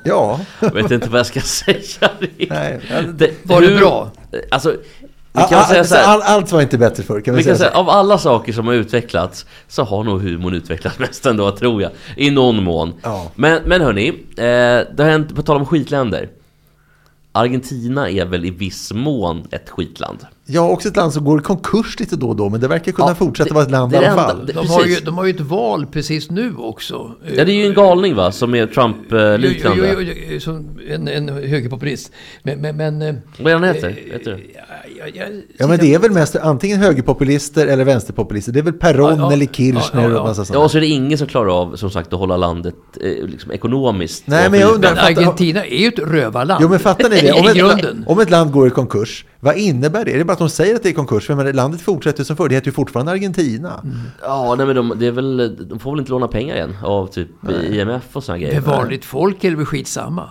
[SPEAKER 3] Ja,
[SPEAKER 2] Jag vet inte vad jag ska (laughs) säga riktigt.
[SPEAKER 3] nej. All,
[SPEAKER 4] Var det bra? Ah,
[SPEAKER 2] Alltså, vi kan säga
[SPEAKER 3] all,
[SPEAKER 2] så här.
[SPEAKER 3] Ah, all, allt var inte bättre förr. Kan vi
[SPEAKER 2] Vi kan
[SPEAKER 3] säga så?
[SPEAKER 2] säga, av alla saker som har utvecklats så har nog humorn utvecklats (laughs) mest ändå, tror jag. I någon mån.
[SPEAKER 3] Ja.
[SPEAKER 2] Men, men hörni, eh, det har hänt, på tal om skitländer. Argentina är väl i viss mån ett skitland?
[SPEAKER 3] Ja, också ett land som går i konkurs lite då och då, men det verkar kunna
[SPEAKER 2] Ja,
[SPEAKER 3] fortsätta
[SPEAKER 2] det-
[SPEAKER 3] vara ett land i
[SPEAKER 2] det är
[SPEAKER 3] alla
[SPEAKER 2] det enda-
[SPEAKER 3] fall.
[SPEAKER 2] det-
[SPEAKER 4] De har, ju,
[SPEAKER 2] precis.
[SPEAKER 4] de har ju ett val precis nu också. Eh,
[SPEAKER 2] Ja, det är ju en galning va, som är Trump-liknande.
[SPEAKER 4] Jo, jo, jo, jo, som en, en högerpopulist. Men... men, men eh,
[SPEAKER 2] Vad är han heter? Vet du?
[SPEAKER 4] ja, jag, jag,
[SPEAKER 3] Ja, men det är väl mest antingen högerpopulister eller vänsterpopulister. Det är väl Peron
[SPEAKER 4] Ja, ja.
[SPEAKER 3] eller Kirchner
[SPEAKER 4] Ja, ja, ja.
[SPEAKER 3] och massa sånt.
[SPEAKER 2] Ja, och så är det ingen som klarar av, som sagt, att hålla landet eh, liksom, ekonomiskt.
[SPEAKER 3] Nej, men jag
[SPEAKER 2] Varför-
[SPEAKER 3] undrar-
[SPEAKER 4] Men Argentina är ju ett rövarland.
[SPEAKER 3] Jo men fattar ni det? Om
[SPEAKER 4] (laughs) I
[SPEAKER 3] ett,
[SPEAKER 4] grunden.
[SPEAKER 3] om ett land går i konkurs, vad innebär det? Är det bara att de säger att det är konkurs? För jag menar, landet fortsätter som förr, det heter ju fortfarande Argentina.
[SPEAKER 2] Ja, nej, men de, det är väl, de får väl inte låna pengar igen av typ IMF och såna
[SPEAKER 4] För
[SPEAKER 2] grejer.
[SPEAKER 4] vanligt folk är det väl skitsamma.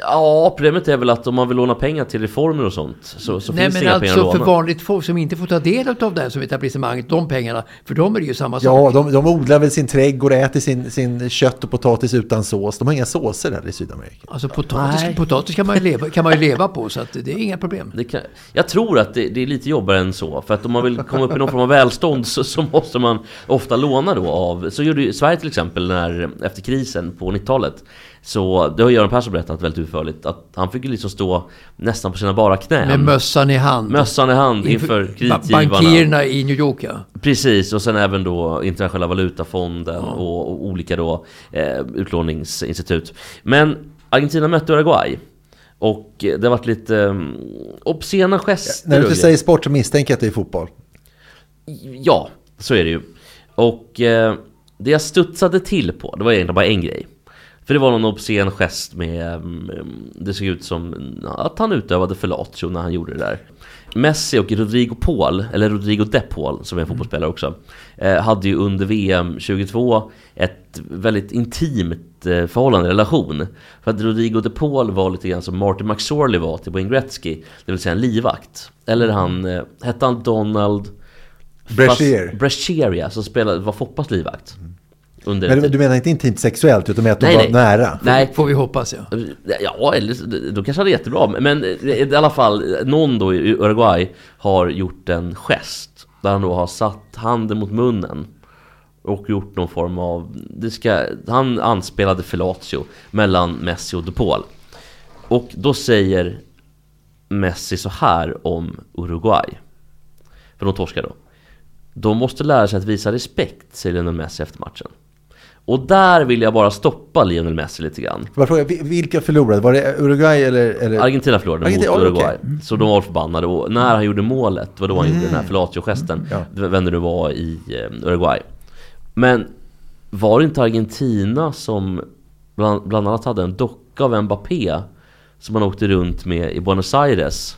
[SPEAKER 2] Ja, problemet är väl att om man vill låna pengar till reformer och sånt så, så
[SPEAKER 4] Nej
[SPEAKER 2] finns det
[SPEAKER 4] men
[SPEAKER 2] inga pengar
[SPEAKER 4] alltså
[SPEAKER 2] att
[SPEAKER 4] för
[SPEAKER 2] låna.
[SPEAKER 4] vanligt folk som inte får ta del av det här som etablissemanget, de pengarna, för dem är det ju samma sak.
[SPEAKER 3] Ja, de, de odlar väl sin trädgård och äter sin, sin kött och potatis utan sås. De har inga såser där i Sydamerika.
[SPEAKER 4] Alltså potatis,
[SPEAKER 2] Nej.
[SPEAKER 4] potatis kan, man ju leva, kan man ju leva på så att det är inga problem.
[SPEAKER 2] Det kan, jag tror att det, det är lite jobbigare än så, för att om man vill komma upp i någon form av välstånd så, så måste man ofta låna då av... Så gjorde ju Sverige till exempel när, efter krisen på 90-talet. Så det har Göran Persson berättat väldigt utförligt, att han fick ju liksom stå nästan på sina bara knän.
[SPEAKER 4] Med mössan i hand.
[SPEAKER 2] mössan i hand
[SPEAKER 4] Inför
[SPEAKER 2] inför
[SPEAKER 4] ba-
[SPEAKER 2] kreditgivarna.
[SPEAKER 4] Bankirerna i New York ja.
[SPEAKER 2] Precis, och sen även då internationella valutafonden och, och olika då eh, utlåningsinstitut. Men Argentina mötte Uruguay. Och eh, det har varit lite eh, obscena gester.
[SPEAKER 3] När du
[SPEAKER 2] och
[SPEAKER 3] inte
[SPEAKER 2] grejer.
[SPEAKER 3] säger sport så misstänker jag att det är fotboll.
[SPEAKER 2] Ja, så är det ju. Och eh, det jag studsade till på, det var egentligen bara en grej. För det var någon obscen gest med... mm, Det såg ut som att han utövade fellatio när han gjorde det där. Messi och Rodrigo Paul, eller Rodrigo De Paul som är en fotbollsspelare också, eh, hade ju under VM 22 ett väldigt intimt eh, förhållande, relation. För att Rodrigo De Paul var lite grann som Martin McSorley var till Wayne Gretzky, det vill säga en livvakt. Eller han, eh, hette han Donald...
[SPEAKER 3] Brashear.
[SPEAKER 2] Fast- Brashear ja, som spelade, var Foppas livvakt. Under
[SPEAKER 3] Men du- du menar inte intimt sexuellt, utan med att de
[SPEAKER 2] Nej,
[SPEAKER 3] var
[SPEAKER 2] nej.
[SPEAKER 3] nära?
[SPEAKER 2] Nej.
[SPEAKER 4] Får vi hoppas ja.
[SPEAKER 2] Ja, eller så- då kanske han är jättebra. Men eh, i alla fall, någon då i Uruguay har gjort en gest. Där han då har satt handen mot munnen. Och gjort någon form av... Det ska, han anspelade fellatio mellan Messi och De Paul. Och då säger Messi så här om Uruguay. För de torskar då. De måste lära sig att visa respekt, säger Lionel Messi efter matchen. Och där vill jag bara stoppa Lionel Messi lite grann.
[SPEAKER 3] Bara fråga, vi- vilka förlorade? Var det Uruguay eller? eller?
[SPEAKER 2] Argentina förlorade
[SPEAKER 3] Eh, Argentina,
[SPEAKER 2] mot
[SPEAKER 3] ja,
[SPEAKER 2] Uruguay. Mm.
[SPEAKER 3] okej.
[SPEAKER 2] Så de var förbannade. Och när han gjorde målet, det var då han gjorde den här fellatio-gesten.
[SPEAKER 3] Mm. Ja.
[SPEAKER 2] v- Vem det nu var i eh, Uruguay. Men var det inte Argentina som bland, bland annat hade en docka av Mbappé som man åkte runt med i Buenos Aires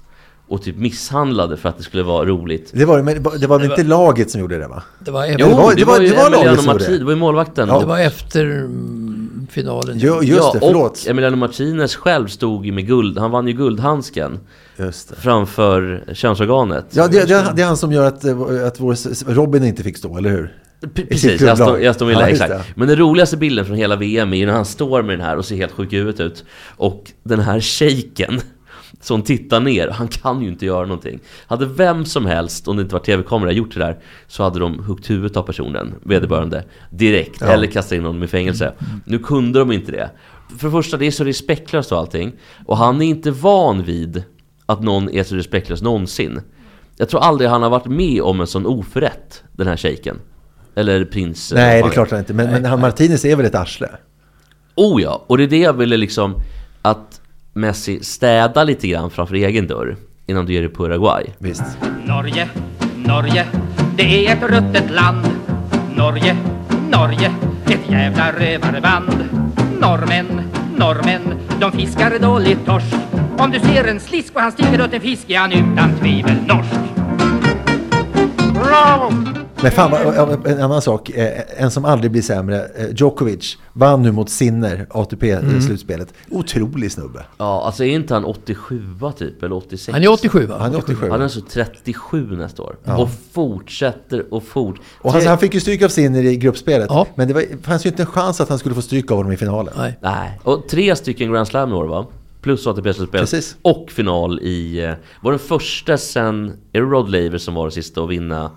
[SPEAKER 2] och typ misshandlade för att det skulle vara roligt?
[SPEAKER 3] Det var, det, men det var väl inte laget som gjorde det va?
[SPEAKER 4] Det var
[SPEAKER 3] det
[SPEAKER 4] efter,
[SPEAKER 3] var-
[SPEAKER 2] ju
[SPEAKER 3] det var laget
[SPEAKER 2] Emiliano
[SPEAKER 3] som gjorde
[SPEAKER 2] Marti-
[SPEAKER 3] det.
[SPEAKER 2] det var ju målvakten.
[SPEAKER 3] Ja.
[SPEAKER 4] det var efter mm, finalen.
[SPEAKER 3] Jo, just det, förlåt.
[SPEAKER 2] Och Emiliano Martinez själv stod ju med guld, han vann ju guldhandsken
[SPEAKER 3] Just det.
[SPEAKER 2] framför könsorganet.
[SPEAKER 3] Ja, det, det, det är han som gör att, eh, att vår, s- Robin inte fick stå, eller hur?
[SPEAKER 2] P-
[SPEAKER 3] I sitt
[SPEAKER 2] Precis,
[SPEAKER 3] klubblag.
[SPEAKER 2] jag står, jag står med
[SPEAKER 3] Ja,
[SPEAKER 2] Villa,
[SPEAKER 3] just
[SPEAKER 2] exakt.
[SPEAKER 3] det.
[SPEAKER 2] Men den roligaste bilden från hela VM är ju när han står med den här och ser helt sjuk i huvudet ut. Och den här shejken som tittar ner, han kan ju inte göra någonting. Hade vem som helst, om det inte var tv-kamera, gjort det där så hade de huggt huvudet av personen, vederbörande, direkt. Eller kastat in honom i fängelse. Nu kunde de inte det. För det första, det är så respektlöst och allting. Och han är inte van vid att någon är så respektlös någonsin. Jag tror aldrig han har varit med om en sån oförrätt, den här shejken. Eller prins... eller vad
[SPEAKER 3] Nej, det
[SPEAKER 2] fan
[SPEAKER 3] är klart han inte. Men, men han Martinez är väl ett arsle?
[SPEAKER 2] Oh ja, och det är det jag ville liksom att Messi städa lite grann framför egen dörr innan du ger dig på Uruguay.
[SPEAKER 3] Visst.
[SPEAKER 1] Norge, Norge, det är ett ruttet land. Norge, Norge, ett jävla rövarband. Norrmän, norrmän, de fiskar dåligt torsk. Om du ser en slisk och han sticker åt en fisk är han utan tvivel norsk. Bravo!
[SPEAKER 3] Men fan, vad- en annan sak. eh, En som aldrig blir sämre. eh, Djokovic vann nu mot Sinner,
[SPEAKER 2] Mm.
[SPEAKER 3] ATP-slutspelet. eh, Otrolig snubbe.
[SPEAKER 2] Ja, alltså är inte han 87 typ, eller 86?
[SPEAKER 4] Han är 87 va?
[SPEAKER 3] Han är 87.
[SPEAKER 2] Han är alltså 37 nästa år. Och fortsätter och fort.
[SPEAKER 3] Och han, han fick ju stryk av Sinner i gruppspelet.
[SPEAKER 4] Ja.
[SPEAKER 3] Men det var, fanns ju inte en chans att han skulle få stryk av honom i finalen.
[SPEAKER 4] Nej.
[SPEAKER 2] Nej. Och tre stycken Grand Slam i år va? Plus ATP-slutspel.
[SPEAKER 3] Precis.
[SPEAKER 2] Och final i... eh, Var den första sen... Är det Rod Laver som var den sista att vinna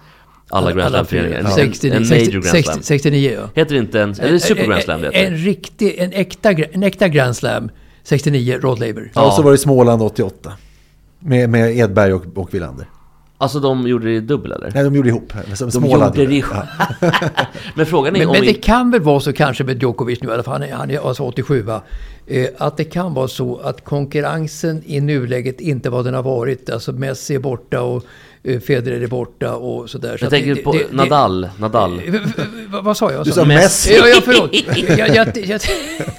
[SPEAKER 2] alla Grand
[SPEAKER 4] Alla
[SPEAKER 2] Slam-turneringar?
[SPEAKER 4] fyra.
[SPEAKER 2] En, en
[SPEAKER 4] 69,
[SPEAKER 2] major Grand
[SPEAKER 4] 60,
[SPEAKER 2] Slam.
[SPEAKER 4] 69 ja.
[SPEAKER 2] Heter det inte en... Eller Super Grand Slam
[SPEAKER 4] en,
[SPEAKER 2] heter
[SPEAKER 4] Eh, en
[SPEAKER 2] det.
[SPEAKER 4] riktig, en äkta, gra- en äkta Grand Slam 69, Rod Laver.
[SPEAKER 3] Ja. Och så var det Småland 88. Med, med Edberg och, och Wilander.
[SPEAKER 2] Alltså de gjorde det i dubbel eller?
[SPEAKER 3] Nej, de gjorde ihop. Som
[SPEAKER 2] De
[SPEAKER 3] Småland
[SPEAKER 2] gjorde det
[SPEAKER 3] gjorde.
[SPEAKER 2] ihop. (laughs) Men frågan är
[SPEAKER 4] Men,
[SPEAKER 2] om...
[SPEAKER 4] men det
[SPEAKER 2] in-
[SPEAKER 4] kan väl vara så kanske med Djokovic nu, i alla fall, han är, han är alltså 87 va? Eh, att det kan vara så att konkurrensen i nuläget inte vad den har varit. Alltså Messi är borta och eh, Federer är borta och sådär. Så
[SPEAKER 2] Jag
[SPEAKER 4] att
[SPEAKER 2] tänker
[SPEAKER 4] det-
[SPEAKER 2] på
[SPEAKER 4] det- det-
[SPEAKER 2] Nadal.
[SPEAKER 4] (laughs)
[SPEAKER 2] Nadal.
[SPEAKER 4] Eh, v- v- Vad, vad sa jag?
[SPEAKER 3] Du sa
[SPEAKER 2] Messi.
[SPEAKER 3] Messi.
[SPEAKER 4] Ja, ja, förlåt. Jag, jag, jag,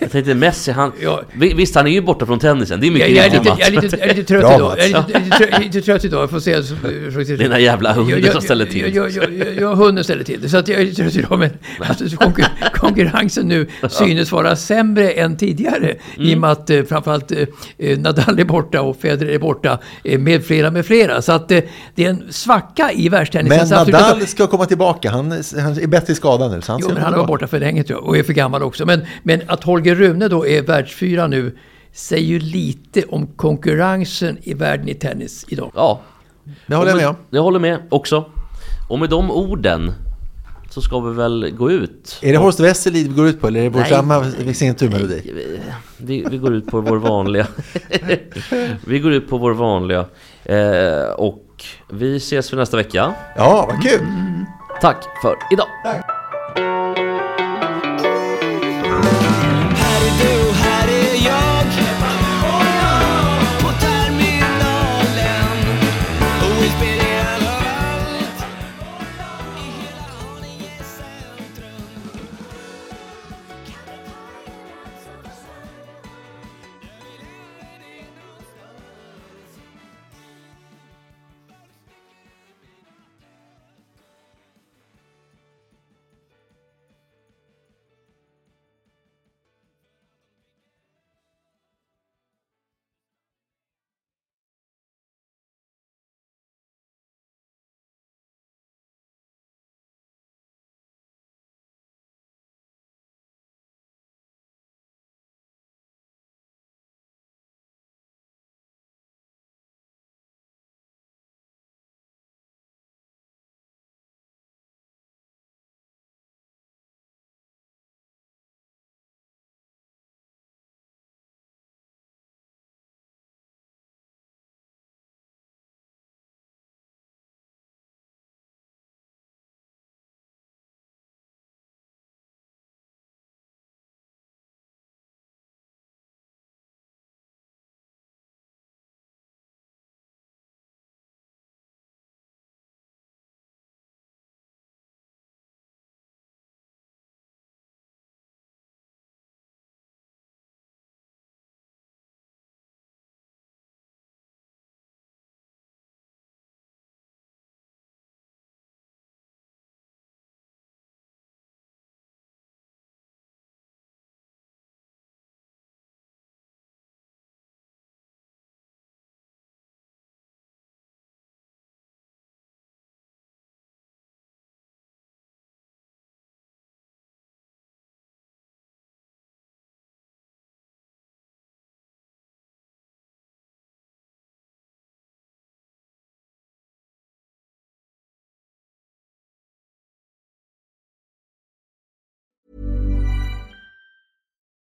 [SPEAKER 2] Jag tänkte Messi, han...
[SPEAKER 4] Ja.
[SPEAKER 2] Vi- Visst, han är ju borta från tennisen. Det är
[SPEAKER 4] Jag,
[SPEAKER 2] mycket
[SPEAKER 4] jag, är
[SPEAKER 2] riktigt
[SPEAKER 4] lite, jag,
[SPEAKER 2] Mats.
[SPEAKER 4] är lite, jag är lite
[SPEAKER 3] (laughs)
[SPEAKER 4] trött
[SPEAKER 3] Bra,
[SPEAKER 4] idag. Jag är
[SPEAKER 2] Mats.
[SPEAKER 4] lite, jag är lite, trö- jag är lite trött idag. Jag får se. så- försöker-
[SPEAKER 2] Dina jävla hunden
[SPEAKER 4] Jag- jag-
[SPEAKER 2] som ställer till.
[SPEAKER 4] Jag, jag, jag, jag, hunden ställer till det, Så att jag är lite
[SPEAKER 2] (laughs)
[SPEAKER 4] trött idag. Men alltså, så konkur- konkurrensen nu synes vara sämre än tidigare.
[SPEAKER 2] Mm.
[SPEAKER 4] I och med att eh, framförallt eh, eh, Nadal är borta och Federer är borta. Eh, med flera, med flera. Så att eh, det är en svacka i världstennisen.
[SPEAKER 3] Men
[SPEAKER 4] Så absolut att-
[SPEAKER 3] Nadal ska komma tillbaka. Han, han är bättre i skada nu. Så han
[SPEAKER 4] Jo,
[SPEAKER 3] ska
[SPEAKER 4] men
[SPEAKER 3] komma
[SPEAKER 4] han var borta för länge tror jag och är för gammal också. Men, men att Holger Rune då är världsfyra nu säger ju lite om konkurrensen i världen i tennis idag.
[SPEAKER 2] Ja.
[SPEAKER 3] Det håller jag med om.
[SPEAKER 2] Jag håller med också. Och med de orden så ska vi väl gå ut.
[SPEAKER 3] Är det Horst Wesselid vi går ut på eller är det vår
[SPEAKER 2] Nej.
[SPEAKER 3] samma signaturmelodi?
[SPEAKER 2] Vi, vi går ut på vår vanliga... (laughs) vi går ut på vår vanliga. Eh, och vi ses för nästa vecka.
[SPEAKER 3] Ja, vad kul!
[SPEAKER 2] Tack för idag!